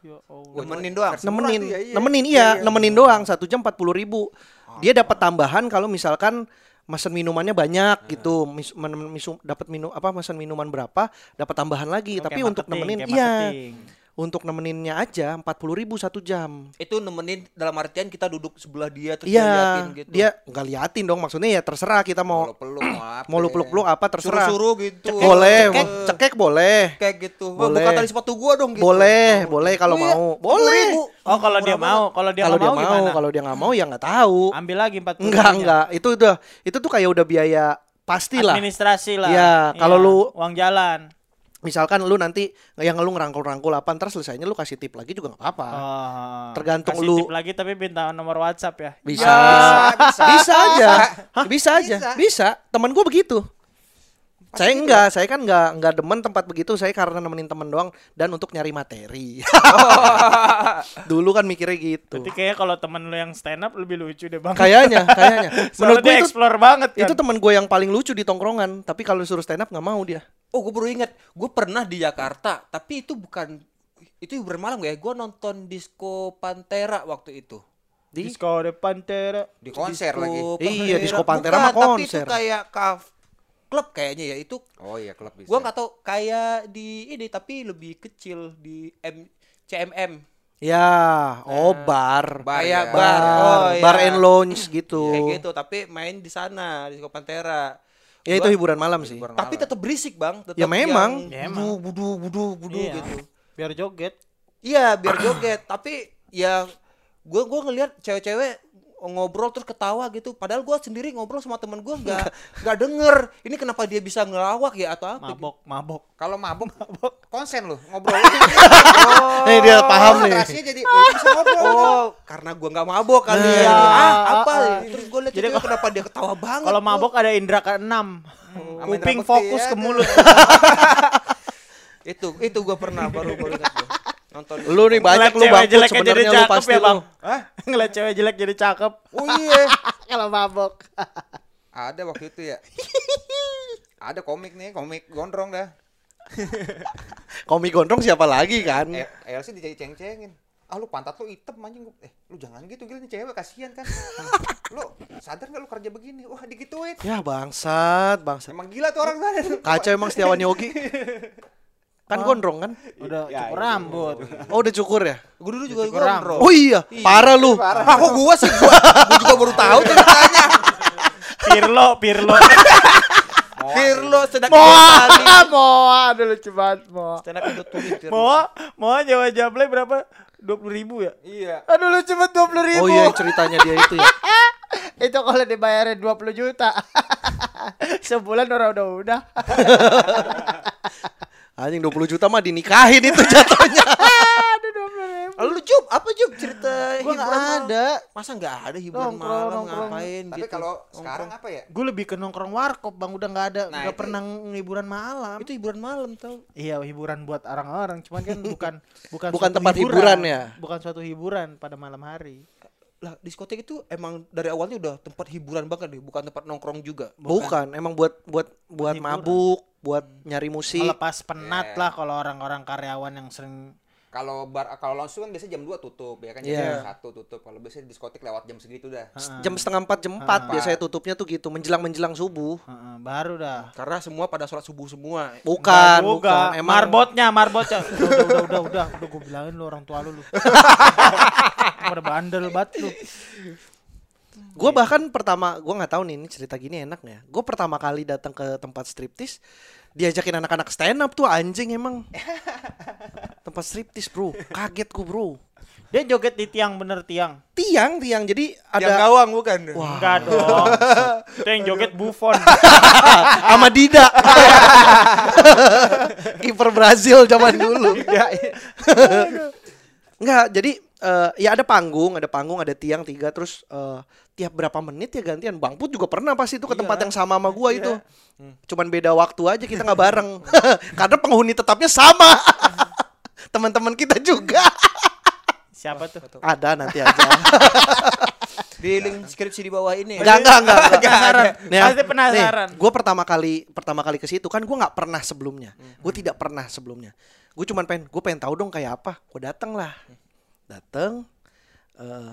Speaker 4: Ya Allah.
Speaker 1: Nemenin doang.
Speaker 2: nemenin,
Speaker 3: tuh ya, iya.
Speaker 2: nemenin iya, nemenin doang satu jam empat puluh ribu. Dia dapat tambahan kalau misalkan mesen minumannya banyak gitu, mis, men- misu- dapat minum apa mesen minuman berapa, dapat tambahan lagi.
Speaker 4: Oke,
Speaker 2: Tapi untuk
Speaker 4: marketing,
Speaker 2: nemenin,
Speaker 4: kayak
Speaker 2: iya,
Speaker 4: marketing.
Speaker 2: untuk nemeninnya aja empat puluh ribu satu jam.
Speaker 1: Itu nemenin dalam artian kita duduk sebelah dia terus
Speaker 2: Iya,
Speaker 1: diliatin gitu.
Speaker 2: dia nggak liatin dong maksudnya ya terserah kita
Speaker 3: Kalau
Speaker 2: mau
Speaker 3: peluk mau apa?
Speaker 4: Iya.
Speaker 2: mau lu peluk-peluk apa terserah.
Speaker 1: ya. Suruh-suruh gitu.
Speaker 2: boleh,
Speaker 1: Cekek,
Speaker 2: mau- cekek boleh.
Speaker 1: Kayak gitu. Wah,
Speaker 2: Boleh.
Speaker 1: Buka tali sepatu gua dong gitu.
Speaker 2: Boleh, boleh kalau
Speaker 1: Oh iya,
Speaker 2: mau.
Speaker 1: 40.000.
Speaker 2: Boleh.
Speaker 4: Oh kalau dia
Speaker 1: Murah
Speaker 4: mau, kalau dia
Speaker 2: Kalau
Speaker 4: nggak
Speaker 2: dia
Speaker 4: mau,
Speaker 2: mau,
Speaker 4: gimana?
Speaker 2: kalau dia nggak mau ya nggak tahu.
Speaker 4: Ambil lagi 40
Speaker 2: Enggak, enggak. Itu udah itu tuh kayak udah biaya pasti lah.
Speaker 4: Administrasi lah.
Speaker 2: Iya, kalau lu-
Speaker 4: uang jalan.
Speaker 2: Misalkan lu nanti yang lu ngerangkul-rangkul apa, ntar selesainya lu kasih tip lagi juga nggak apa-apa.
Speaker 4: Oh,
Speaker 2: Ah, tergantung
Speaker 4: kasih
Speaker 2: lu.
Speaker 4: tip lagi tapi minta nomor WhatsApp ya.
Speaker 2: Bisa. bisa, aja. Hah? Bisa aja. Bisa. Temen gue begitu. saya enggak, saya kan enggak enggak demen tempat begitu. Saya karena nemenin temen doang dan untuk nyari materi. Dulu kan mikirnya gitu.
Speaker 4: Berarti kayaknya kalau temen lu yang stand up lebih lucu deh bang.
Speaker 2: Kayaknya, kayaknya. Kan Menurut
Speaker 4: Soalnya
Speaker 2: gue
Speaker 4: dia
Speaker 2: itu,
Speaker 4: explore banget kan.
Speaker 2: itu temen gue yang paling lucu di tongkrongan. Tapi kalau suruh stand up nggak mau dia.
Speaker 1: Oh, gue baru ingat, gue pernah di Jakarta, tapi itu bukan itu hiburan malam gak ya? Gue nonton disco Pantera waktu itu.
Speaker 4: di disco depan tera.
Speaker 3: Di konser
Speaker 1: Disco
Speaker 2: Iya,
Speaker 3: lagi.
Speaker 1: Pantera.
Speaker 2: disco Pantera
Speaker 1: Gitu. Bukan,
Speaker 2: mah
Speaker 1: Tapi itu
Speaker 2: konser.
Speaker 1: kayak kaf klub kayaknya ya. Itu
Speaker 3: Oh iya, klub bisa.
Speaker 1: gue nggak tahu kayak di ini tapi lebih kecil di M CMM.
Speaker 2: Ya, oh bar.
Speaker 3: Bar
Speaker 1: kayak
Speaker 3: ya.
Speaker 1: bar.
Speaker 2: bar,
Speaker 1: Oh,
Speaker 2: bar
Speaker 1: iya.
Speaker 2: and lounge gitu.
Speaker 1: Kayak gitu, tapi main di sana di disco Pantera.
Speaker 2: Ya itu hiburan malam sih.
Speaker 3: Hiburan
Speaker 1: Tapi tetap berisik, Bang. Tetap
Speaker 2: Ya memang.
Speaker 1: yang
Speaker 4: Ya
Speaker 1: budu,
Speaker 4: emang.
Speaker 1: budu, budu, budu
Speaker 4: Iya.
Speaker 1: gitu.
Speaker 4: Biar joget.
Speaker 1: Iya biar joget tapi ya gue gue ngelihat cewek-cewek ngobrol terus ketawa gitu padahal gua sendiri ngobrol sama temen gua nggak nggak denger ini kenapa dia bisa ngelawak ya atau apa gitu.
Speaker 4: mabok mabok
Speaker 3: Kalau mabuk, konsen loh ngobrol.
Speaker 2: Nih Eh, dia paham
Speaker 4: Oh,
Speaker 2: nih.
Speaker 3: Rasanya jadi "Wah, ini bisa ngobrol.
Speaker 1: Oh, karena gua nggak mabok kali ya.
Speaker 4: Iya.
Speaker 1: Ah, apa?
Speaker 4: Ah, ah.
Speaker 1: Terus gua lihat
Speaker 4: Jadi
Speaker 1: itu
Speaker 4: kalau-
Speaker 1: kenapa dia ketawa banget.
Speaker 4: kalau
Speaker 1: tuh.
Speaker 4: mabok ada indera keenam
Speaker 2: Oh.
Speaker 3: sama indera
Speaker 4: kuping
Speaker 3: bekti
Speaker 4: fokus
Speaker 3: ya,
Speaker 4: ke mulut
Speaker 1: itu itu gua pernah baru baru ingat gua. nonton.
Speaker 2: Lu nih banyak
Speaker 4: Ngeliat
Speaker 2: lu
Speaker 4: cewek
Speaker 2: bangkut
Speaker 4: jelek jadi
Speaker 2: sebenarnya lu
Speaker 4: cakep
Speaker 2: pasti
Speaker 4: ya bang
Speaker 2: lu.
Speaker 3: Hah?
Speaker 4: ngeliat cewek jelek jadi cakep
Speaker 3: Oh iya.
Speaker 5: Ah, Kalau mabok.
Speaker 3: Ada waktu itu ya. Ada komik nih, komik gondrong dah.
Speaker 2: Komi gondrong siapa lagi kan?
Speaker 3: Eh, Elsi dijadi ceng-cengin. Ah lu pantat lu hitam anjing. Eh lu jangan gitu gila nih cewek kasihan kan. lu sadar nggak lu kerja begini? Wah digituin.
Speaker 2: Ya bangsat, bangsat.
Speaker 3: Emang gila tuh orang sadar.
Speaker 2: Kaca emang Setiawan Yogi. Kan gondrong kan?
Speaker 4: udah
Speaker 3: Ya,
Speaker 4: cukur
Speaker 3: itu.
Speaker 4: rambut
Speaker 2: Oh udah cukur ya?
Speaker 1: Gua dulu juga
Speaker 4: Cukur rambut.
Speaker 1: gondrong.
Speaker 2: Oh iya, parah lu. Oh,
Speaker 1: Ah, kok gua sih gua, gua juga baru tahu ceritanya.
Speaker 4: Pirlo Pirlo
Speaker 1: Firlo sedang
Speaker 5: Moa, Moa, aduh lucu banget Moa.
Speaker 1: Stand up itu tulis Firlo.
Speaker 4: Moa Moa Jawa Jablay berapa dua puluh ribu ya
Speaker 3: Iya.
Speaker 5: Aduh lucu banget 20 ribu.
Speaker 2: Oh iya yang ceritanya dia itu ya.
Speaker 5: Itu kalau dibayarin 20 juta. Sebulan orang udah udah.
Speaker 2: Anjing 20 juta mah dinikahin itu jatuhnya.
Speaker 5: Aduh 20 ribu.
Speaker 1: Lalu Jub, apa Jub cerita
Speaker 5: Gua
Speaker 1: hiburan
Speaker 5: nggak
Speaker 1: malam?
Speaker 5: ada.
Speaker 1: Masa nggak ada hiburan
Speaker 5: Nongkrong,
Speaker 1: malam
Speaker 5: nongkrong.
Speaker 1: ngapain
Speaker 3: Tapi
Speaker 1: gitu.
Speaker 3: kalau sekarang apa ya?
Speaker 5: Gue lebih ke nongkrong warkop bang udah nggak ada
Speaker 3: Nah,
Speaker 5: nggak
Speaker 3: itu-
Speaker 5: pernah hiburan malam.
Speaker 1: itu hiburan malam tau.
Speaker 5: Iya hiburan buat orang-orang cuman kan bukan bukan
Speaker 2: Bukan
Speaker 5: suatu
Speaker 2: tempat hiburan ya?
Speaker 5: Bukan suatu hiburan pada malam hari.
Speaker 1: Lah diskotik itu emang dari awalnya udah tempat hiburan banget deh, bukan tempat nongkrong juga.
Speaker 2: Bukan, emang buat buat buat
Speaker 4: Hiburan.
Speaker 2: mabuk, buat
Speaker 1: Hmm.
Speaker 2: nyari musik.
Speaker 4: melepas penat
Speaker 3: Iya.
Speaker 4: lah kalau orang-orang karyawan yang sering
Speaker 3: Kalau bar kalau langsung kan biasanya jam 2 tutup ya kan
Speaker 2: Iya.
Speaker 3: jam satu tutup. Kalau biasanya diskotik lewat jam segitu dah.
Speaker 2: Jam setengah empat, jam empat
Speaker 3: Empat.
Speaker 2: biasanya tutupnya tuh gitu, menjelang menjelang subuh.
Speaker 4: Heeh, baru dah
Speaker 1: Karena semua pada sholat subuh semua.
Speaker 2: Eh, Bukan,
Speaker 4: Enggak juga.
Speaker 2: bukan. Emang
Speaker 4: marbotnya, marbotnya. Udah, udah, udah, udah, udah, udah gue bilangin lu orang tua lu lu. Pada bandel banget lu.
Speaker 2: Gue bahkan pertama, gue nggak tahu nih ini cerita gini enak nggak ya. Gue pertama kali datang ke tempat striptis, diajakin anak-anak stand up tuh anjing emang. tempat striptis bro, kaget gue bro.
Speaker 4: Dia joget di tiang bener tiang.
Speaker 2: Tiang, tiang. Jadi
Speaker 1: Yang
Speaker 2: ada
Speaker 1: gawang bukan? Wah.
Speaker 2: iya.
Speaker 4: Enggak dong. Itu yang joget Buffon.
Speaker 2: sama Dida. Kiper Brazil zaman dulu. iya. Enggak, jadi eh, ya ada panggung, ada panggung, ada tiang tiga terus eh, tiap berapa menit ya gantian. Bang Put juga pernah pas itu ke tempat yang sama sama gua itu. Cuman beda waktu aja kita nggak bareng. Karena penghuni tetapnya sama. Teman-teman kita juga.
Speaker 4: Siapa tuh?
Speaker 2: ada nanti aja.
Speaker 1: Di link skripsi di bawah ini.
Speaker 2: Enggak, enggak, enggak.
Speaker 4: Penasaran. Pasti penasaran.
Speaker 2: Gue pertama kali pertama kali ke situ kan gue nggak pernah sebelumnya. Gue tidak pernah sebelumnya. Gue cuman pengen gue pengen tahu dong kayak apa. Gue dateng lah. Dateng. eh,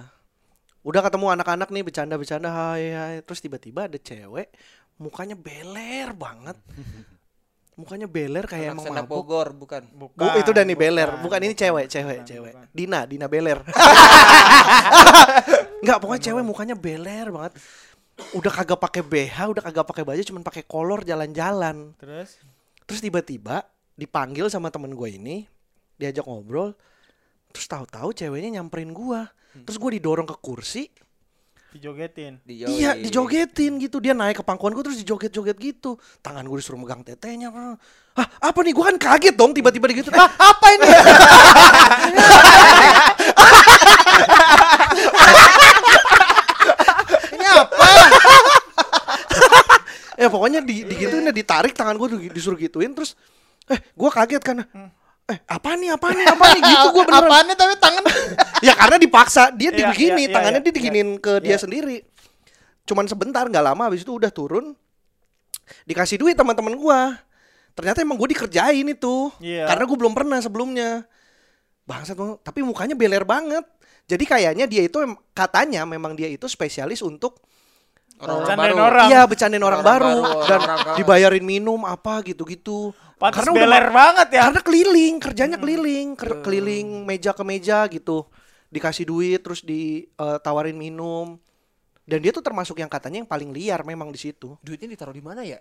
Speaker 2: udah ketemu anak-anak nih bercanda-bercanda hai hai terus tiba-tiba ada cewek mukanya beler banget. Mukanya beler
Speaker 1: Anak
Speaker 2: kayak emang
Speaker 1: stand up
Speaker 2: mabuk.
Speaker 1: Bogor bukan.
Speaker 2: Bu, itu Dani Beler, bukan, ini cewek, cewek,
Speaker 4: bukan,
Speaker 2: cewek.
Speaker 4: bukan.
Speaker 2: Dina, Dina Beler. Enggak, pokoknya cewek mukanya beler banget. Udah kagak pakai BH, udah kagak pakai baju, cuman pakai kolor jalan-jalan.
Speaker 4: Terus
Speaker 2: Terus tiba-tiba dipanggil sama temen gue ini, diajak ngobrol. Terus tahu-tahu ceweknya nyamperin gua. Terus gue didorong ke kursi,
Speaker 4: dijogetin.
Speaker 1: Di
Speaker 2: Iya dijogetin gitu Dia naik ke pangkuan gue terus dijoget-joget gitu Tangan gue disuruh megang tetenya Hah apa nih gue kan kaget dong tiba-tiba gitu Hah apa ini Ini apa Ya pokoknya di, digituin ya ditarik tangan gue disuruh gituin Terus eh gue kaget kan
Speaker 4: Hmm.
Speaker 2: Eh apa nih apa nih apa nih gitu gue beneran
Speaker 5: Apaan nih tapi tangan
Speaker 2: ya karena dipaksa dia
Speaker 4: Iya,
Speaker 2: digini
Speaker 4: iya, iya,
Speaker 2: tangannya
Speaker 4: iya,
Speaker 2: dia diginin ke dia
Speaker 4: iya.
Speaker 2: sendiri cuman sebentar nggak lama habis itu udah turun dikasih duit teman-teman gua ternyata emang gue dikerjain itu
Speaker 4: Iya.
Speaker 2: karena gue belum pernah sebelumnya bangsat Bang. tapi mukanya beler banget jadi kayaknya dia itu em- katanya memang dia itu spesialis untuk
Speaker 4: Bercandain orang.
Speaker 2: iya bercandain orang,
Speaker 1: Orang
Speaker 2: baru,
Speaker 1: baru,
Speaker 2: dan
Speaker 1: orang baru.
Speaker 2: dibayarin minum apa gitu-gitu
Speaker 4: Pantes
Speaker 2: udah
Speaker 4: beler banget ya. Hmm.
Speaker 2: karena keliling kerjanya keliling ker- keliling meja ke meja gitu dikasih duit terus ditawarin minum dan dia tuh termasuk yang katanya yang paling liar memang di situ
Speaker 1: Duitnya ditaruh di mana ya?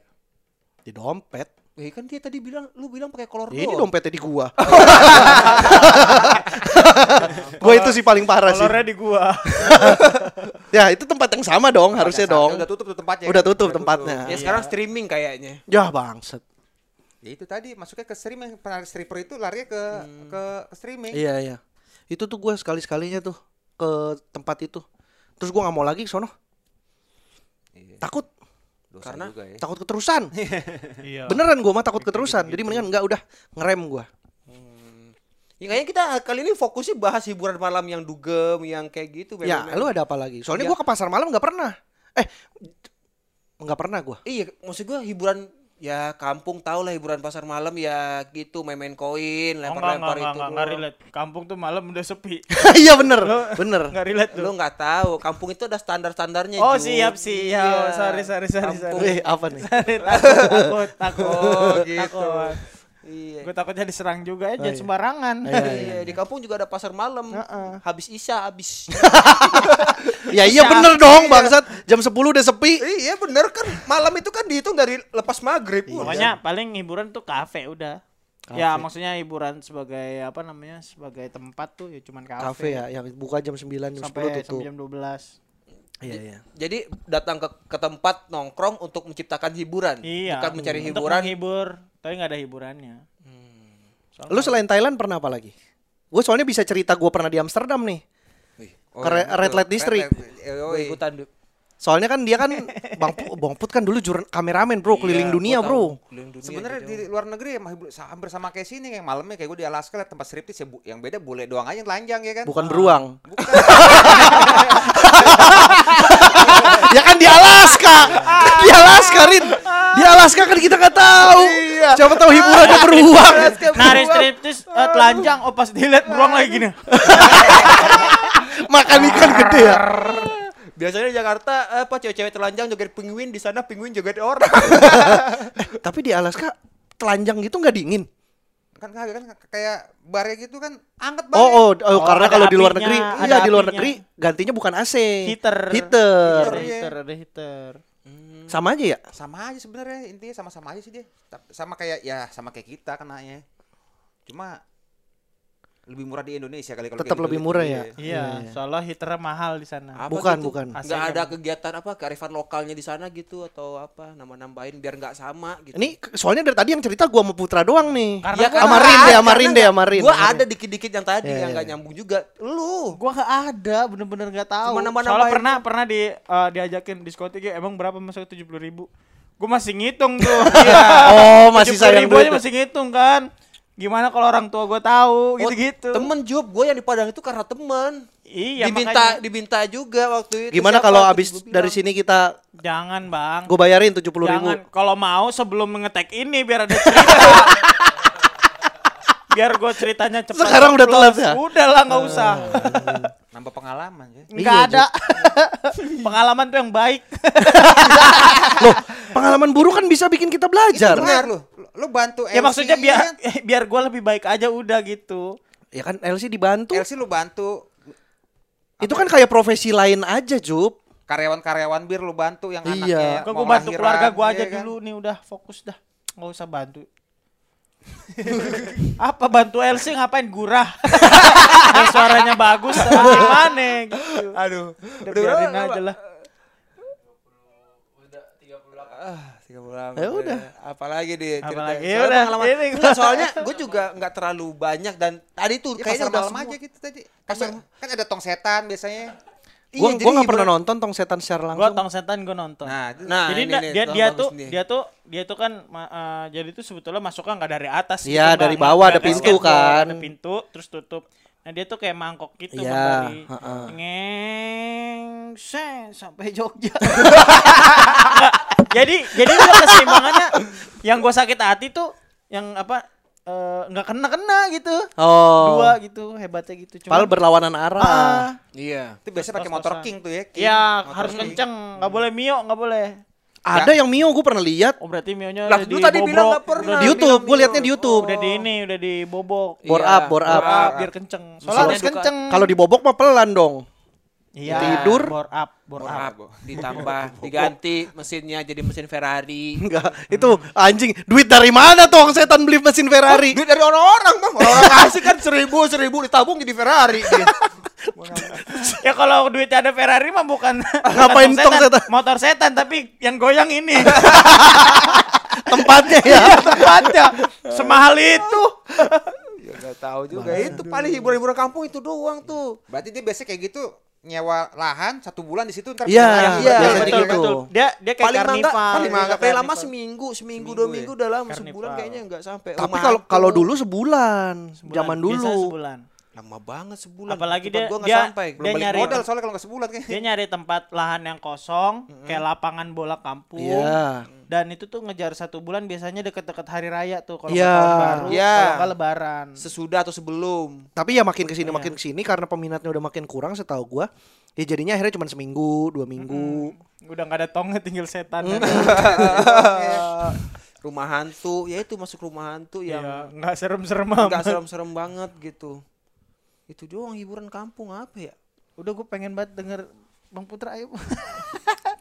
Speaker 2: di dompet
Speaker 1: Eh kan dia tadi bilang lu bilang pakai kolor
Speaker 2: Ya, ini
Speaker 4: Oh.
Speaker 1: doang.
Speaker 2: dompetnya di gua. gua itu sih paling parah sih.
Speaker 4: Kolornya di gua.
Speaker 2: Ya itu tempat yang sama dong harusnya
Speaker 3: Yang sama,
Speaker 2: dong.
Speaker 3: Udah tutup tuh tempatnya.
Speaker 2: Udah tutup tempatnya.
Speaker 1: Ya sekarang streaming kayaknya.
Speaker 2: Yah bangset.
Speaker 3: Ya itu tadi masuknya ke streaming penarik stripper itu larinya ke ke, ke streaming.
Speaker 2: Hmm. Iya iya. Itu tuh gua sekali sekalinya tuh ke tempat itu. Terus gua nggak mau lagi ke sono.
Speaker 3: Iya.
Speaker 2: Takut,
Speaker 3: Dosa
Speaker 1: Karena-
Speaker 3: juga ya.
Speaker 2: takut keterusan.
Speaker 4: Iya.
Speaker 2: Beneran gua mah takut keterusan. Jadi mendingan enggak udah ngerem gua.
Speaker 1: Ya kayaknya kita kali ini fokusnya bahas hiburan malam yang dugem yang kayak gitu.
Speaker 2: Ya,
Speaker 1: memang.
Speaker 2: lu ada apa lagi?
Speaker 1: Ya.
Speaker 2: Soalnya gua ke pasar malam nggak pernah. Eh, nggak pernah gua.
Speaker 1: Iya, maksud gua hiburan ya kampung tau lah hiburan pasar malam ya gitu main-main koin
Speaker 4: Oh, enggak, enggak,
Speaker 1: lempar-lempar
Speaker 4: enggak,
Speaker 1: itu.
Speaker 4: enggak, enggak relate. Kampung tuh malam udah sepi.
Speaker 2: Iya bener, bener.
Speaker 4: Enggak relate
Speaker 1: Lu
Speaker 4: tuh.
Speaker 1: nggak tahu, kampung itu ada standar-standarnya.
Speaker 4: Oh,
Speaker 1: Ju.
Speaker 4: siap, siap. Sorry, sorry, sorry,
Speaker 1: Iya. Kampung.
Speaker 4: sorry.
Speaker 2: Eh, apa nih?
Speaker 4: Takut, takut, takut,
Speaker 1: gitu.
Speaker 4: takut.
Speaker 1: Iya.
Speaker 4: Gue takutnya diserang juga
Speaker 2: Oh,
Speaker 4: aja
Speaker 2: iya.
Speaker 4: sembarangan.
Speaker 2: Iya,
Speaker 1: Iya, di kampung juga ada pasar malam. Habis Isya habis.
Speaker 2: Ya iya bener dong bangsat. Jam 10 udah sepi.
Speaker 1: iya, bener kan. Malam itu kan dihitung dari lepas maghrib. udah.
Speaker 4: Pokoknya paling hiburan tuh kafe udah. Ya maksudnya hiburan sebagai apa namanya sebagai tempat tuh ya cuman
Speaker 2: Kafe
Speaker 4: kafe.
Speaker 2: ya yang buka jam 9 jam 10
Speaker 4: sampai
Speaker 2: tutup.
Speaker 4: sampai jam 12.
Speaker 2: Iya iya.
Speaker 1: Jadi datang ke, ke tempat nongkrong untuk menciptakan hiburan,
Speaker 4: Iya.
Speaker 1: bukan mencari
Speaker 4: Untuk
Speaker 1: hiburan.
Speaker 4: menghibur, tapi nggak ada hiburannya.
Speaker 2: Lu selain Thailand pernah apa lagi? Gue soalnya bisa cerita gue pernah di Amsterdam nih.
Speaker 3: Oh,
Speaker 2: Ke re-
Speaker 3: gitu.
Speaker 2: red light district.
Speaker 3: light- eh,
Speaker 1: Gua
Speaker 3: yoi.
Speaker 1: ikutan. Du.
Speaker 2: Soalnya kan dia kan Bang Pu- Bang Put kan dulu jurn kameramen bro keliling dunia
Speaker 1: Gua
Speaker 2: bro.
Speaker 1: tahu, keliling
Speaker 4: Iya,
Speaker 1: dunia
Speaker 3: Sebenarnya
Speaker 1: gitu.
Speaker 3: di luar negeri emang hibu- sa- hampir sama kayak sini kayak malamnya kayak gue di Alaska liat tempat striptease ya, bu- yang beda bule doang aja yang telanjang ya kan.
Speaker 2: Bukan beruang.
Speaker 3: Bukan.
Speaker 2: ya kan di Alaska. Di Alaska Rin. Di Alaska kan kita nggak tahu. Siapa tahu hiburannya beruang.
Speaker 4: Nari striptis eh, telanjang, oh pas dilihat beruang lagi gini.
Speaker 2: Makan ikan gede ya.
Speaker 1: Biasanya di Jakarta eh, apa cewek-cewek telanjang joget penguin di sana penguin joget orang.
Speaker 2: Eh, Tapi di Alaska telanjang gitu nggak dingin.
Speaker 3: kan kagak kan kayak barnya gitu kan anget banget.
Speaker 2: Oh, oh, oh,
Speaker 4: Oh,
Speaker 2: karena
Speaker 4: ada
Speaker 2: kalau di luar
Speaker 4: apinya,
Speaker 2: negeri,
Speaker 4: ada
Speaker 2: iya di luar
Speaker 4: apinya.
Speaker 2: negeri gantinya bukan AC,
Speaker 4: Heater.
Speaker 2: heater,
Speaker 4: Ada heater, ada heater.
Speaker 2: sama aja ya.
Speaker 3: sama aja sebenarnya intinya sama-sama aja sih dia Tap- sama kayak ya sama kayak kita kenanya cuma lebih murah di Indonesia kali kalau
Speaker 2: Tetap
Speaker 3: kayak
Speaker 2: lebih
Speaker 3: gitu.
Speaker 2: murah
Speaker 3: Iya.
Speaker 2: ya.
Speaker 4: Iya, soalnya heaternya mahal di sana.
Speaker 1: Apa
Speaker 2: Bukan,
Speaker 1: gitu?
Speaker 2: bukan.
Speaker 1: Nggak ada kegiatan apa kearifan lokalnya di sana gitu atau apa nambah-nambahin biar nggak sama gitu.
Speaker 2: Ini ke- soalnya dari tadi yang cerita gua sama Putra doang nih.
Speaker 4: Karena
Speaker 1: Ya,
Speaker 4: gua-
Speaker 1: karena
Speaker 2: Amarin
Speaker 1: nggak
Speaker 2: deh,
Speaker 1: ada,
Speaker 2: amarin
Speaker 1: karena
Speaker 2: deh,
Speaker 1: nggak-
Speaker 2: amarin,
Speaker 1: Gua
Speaker 2: amarin.
Speaker 1: ada dikit-dikit yang tadi
Speaker 2: Ya,
Speaker 1: yang
Speaker 2: ya,
Speaker 1: nggak
Speaker 2: ya.
Speaker 1: nyambung juga. Lu
Speaker 5: Gua nggak ada, bener-bener nggak tahu.
Speaker 1: cuma
Speaker 4: Soalnya
Speaker 1: nambah-nambahin.
Speaker 4: pernah pernah di eh, diajakin diskotik ya, emang berapa masuk tujuh puluh ribu? Gue masih ngitung tuh.
Speaker 2: Oh, masih sayang
Speaker 4: ribu aja
Speaker 2: duit.
Speaker 4: masih ngitung kan. Gimana kalau orang tua gue
Speaker 1: Oh,
Speaker 4: tahu gitu-gitu.
Speaker 1: Temen job gue yang di Padang itu karena temen.
Speaker 4: Iya,
Speaker 1: Diminta
Speaker 4: makanya.
Speaker 1: dibinta juga waktu itu.
Speaker 2: Gimana
Speaker 1: Siapa
Speaker 2: kalau
Speaker 1: waktu
Speaker 2: abis
Speaker 1: gua bilang?
Speaker 2: dari sini kita
Speaker 4: Jangan bang.
Speaker 2: gua bayarin tujuh puluh ribu?
Speaker 4: Jangan. Kalau mau sebelum mengetek ini biar ada cerita. biar gue ceritanya cepat.
Speaker 2: Sekarang udah
Speaker 4: ceplos.
Speaker 2: telat ya?
Speaker 4: Udah lah nggak usah.
Speaker 3: nambah pengalaman ya
Speaker 4: Nggak
Speaker 2: Iya,
Speaker 4: ada. Pengalaman tuh yang baik. Ya,
Speaker 2: Loh, pengalaman buruk kan bisa bikin kita
Speaker 4: Iya,
Speaker 2: belajar.
Speaker 3: benar lu lu- lu bantu kan?
Speaker 4: ya maksudnya
Speaker 3: LC,
Speaker 4: biar biar gue lebih baik aja udah gitu.
Speaker 2: Ya kan LC dibantu.
Speaker 3: kan? LC lu bantu
Speaker 2: Itu kan kayak profesi lain aja, Jup.
Speaker 3: karyawan-karyawan bir lu bantu yang
Speaker 2: Iya.
Speaker 3: anaknya
Speaker 4: Gue
Speaker 3: mau
Speaker 4: bantu
Speaker 3: lahiran,
Speaker 4: keluarga gue
Speaker 3: iya
Speaker 4: aja
Speaker 3: kan?
Speaker 4: dulu nih udah fokus dah. Nggak usah bantu. apa bantu LC ngapain gurah Yang suaranya bagus tapi gimana gitu
Speaker 3: aduh
Speaker 4: udah biarin
Speaker 3: berapa?
Speaker 4: aja lah
Speaker 3: Ah, 30
Speaker 2: Ya udah.
Speaker 3: apalagi dia
Speaker 4: Apalagi,
Speaker 3: ceritanya.
Speaker 4: ya udah.
Speaker 1: pengalaman.
Speaker 4: Ini
Speaker 1: Enggak,
Speaker 4: gua-
Speaker 1: soalnya gue juga nggak terlalu banyak dan tadi tuh
Speaker 3: Ya,
Speaker 1: kayaknya
Speaker 3: pasar
Speaker 1: udah
Speaker 3: malam
Speaker 1: semua.
Speaker 3: aja gitu tadi kan, kan ada tong setan biasanya
Speaker 2: Gua
Speaker 1: Iya,
Speaker 2: gua
Speaker 1: jadi
Speaker 2: nggak pernah
Speaker 1: hiburan-
Speaker 2: nonton tong setan secara
Speaker 4: gue
Speaker 2: langsung.
Speaker 4: tong setan gue nonton
Speaker 3: nah, itu-
Speaker 1: Nah,
Speaker 4: jadi
Speaker 1: ini
Speaker 4: nggak-
Speaker 1: nih,
Speaker 4: dia
Speaker 1: tuh
Speaker 4: dia
Speaker 1: bagus
Speaker 4: tuh
Speaker 1: nih.
Speaker 4: dia tuh dia tuh kan ma- eh, jadi tuh sebetulnya masuknya nggak dari atas
Speaker 2: Iya,
Speaker 4: gitu, Bang.
Speaker 2: dari bawah ada
Speaker 4: Nggak
Speaker 2: pintu
Speaker 4: skateboard, ada
Speaker 2: kan.
Speaker 4: pintu terus tutup nah dia tuh kayak mangkok gitu
Speaker 2: Iya,
Speaker 4: Bang, dari
Speaker 2: heeh.
Speaker 4: ngeng sen, sampai Jogja Nggak, jadi jadi gua keseimbangannya yang gue sakit hati tuh yang apa eh, nggak kena kena gitu
Speaker 2: Oh.
Speaker 4: dua gitu hebatnya gitu Cuman-
Speaker 2: Padahal berlawanan arah.
Speaker 4: Ah.
Speaker 1: Iya.
Speaker 3: itu biasa pakai motor
Speaker 4: Pas-pasan.
Speaker 3: king tuh ya king.
Speaker 4: Iya,
Speaker 3: Motor
Speaker 4: harus
Speaker 3: king.
Speaker 4: kenceng, nggak boleh mio, nggak boleh.
Speaker 2: Ada yang Mio gue pernah lihat
Speaker 4: Oh berarti mionya
Speaker 1: Lah,
Speaker 4: udah
Speaker 1: lu tadi
Speaker 4: dibobok,
Speaker 1: bilang nggak
Speaker 4: udah
Speaker 1: pernah.
Speaker 2: di YouTube, gue liatnya di YouTube.
Speaker 4: Udah di ini, udah dibobok.
Speaker 2: Bore
Speaker 1: Iya,
Speaker 2: up, bore
Speaker 4: Bore
Speaker 2: up.
Speaker 4: up, biar kenceng. Soalnya harus
Speaker 1: Soalnya duka-
Speaker 4: kenceng.
Speaker 2: Kalau dibobok mah pelan dong.
Speaker 4: Iya,
Speaker 2: Tidur.
Speaker 4: Bore up, bore up.
Speaker 1: Up, ditambah diganti mesinnya jadi mesin Ferrari.
Speaker 2: Enggak, itu anjing duit dari mana tuh orang setan beli mesin Ferrari?
Speaker 3: Duit dari orang-orang bang, orang-orang kasih kan seribu seribu ditabung jadi Ferrari.
Speaker 2: Iya.
Speaker 4: Ya kalau duitnya ada Ferrari mah bukan
Speaker 2: Ngapain
Speaker 4: bukan
Speaker 2: tong setan?
Speaker 4: Motor setan tapi yang goyang ini. Iya,
Speaker 2: Tempatnya ya.
Speaker 4: Tempatnya semahal itu.
Speaker 3: ya nggak tahu juga
Speaker 1: Ya itu paling hiburan-hiburan kampung itu doang tuh.
Speaker 3: Berarti dia biasanya kayak gitu nyewa lahan satu bulan di situ ntar
Speaker 2: Iya,
Speaker 3: punya ayam.
Speaker 2: iya,
Speaker 3: Biasanya
Speaker 2: betul,
Speaker 3: kayak gitu.
Speaker 2: betul.
Speaker 4: Dia dia kayak
Speaker 1: paling mangga,
Speaker 4: karnival.
Speaker 1: paling
Speaker 4: Dia
Speaker 1: mangga
Speaker 4: kayak
Speaker 1: paling lama
Speaker 4: karnival.
Speaker 1: seminggu, seminggu, dua
Speaker 3: Seminggu ya.
Speaker 1: minggu udah lama
Speaker 4: Karnival.
Speaker 1: sebulan kayaknya nggak sampai.
Speaker 2: Tapi
Speaker 1: Rumah
Speaker 2: kalau
Speaker 1: aku
Speaker 2: kalau dulu sebulan,
Speaker 4: Sebulan,
Speaker 2: zaman dulu.
Speaker 4: biasanya sebulan.
Speaker 1: lama banget sebulan. Tempat
Speaker 4: Apalagi dia-
Speaker 1: gua nggak
Speaker 4: dia-
Speaker 1: sampai.
Speaker 4: dia
Speaker 1: balik
Speaker 4: nyari-
Speaker 3: Modal soalnya kalau nggak sebulan kan. kayaknya.
Speaker 4: Dia nyari tempat lahan yang kosong, kayak lapangan bola kampung.
Speaker 2: Iya.
Speaker 4: Dan itu tuh ngejar satu bulan biasanya deket-deket hari raya tuh kalau
Speaker 2: Iya.
Speaker 4: nggak tahun baru,
Speaker 1: Iya.
Speaker 4: kalau nggak lebaran.
Speaker 1: sesudah atau sebelum.
Speaker 2: Tapi ya makin kesini
Speaker 4: Iya.
Speaker 2: makin kesini karena peminatnya udah makin kurang setahu gua. Ya jadinya akhirnya cuma seminggu, dua minggu.
Speaker 4: Udah nggak ada tongnya tinggal setan.
Speaker 1: rumah hantu, ya itu masuk rumah hantu
Speaker 4: Iya,
Speaker 1: yang
Speaker 4: nggak serem-serem
Speaker 1: nggak
Speaker 4: amat.
Speaker 1: serem-serem banget gitu. Itu doang hiburan kampung apa ya?
Speaker 4: Udah gue pengen banget denger Bang Putra ayo.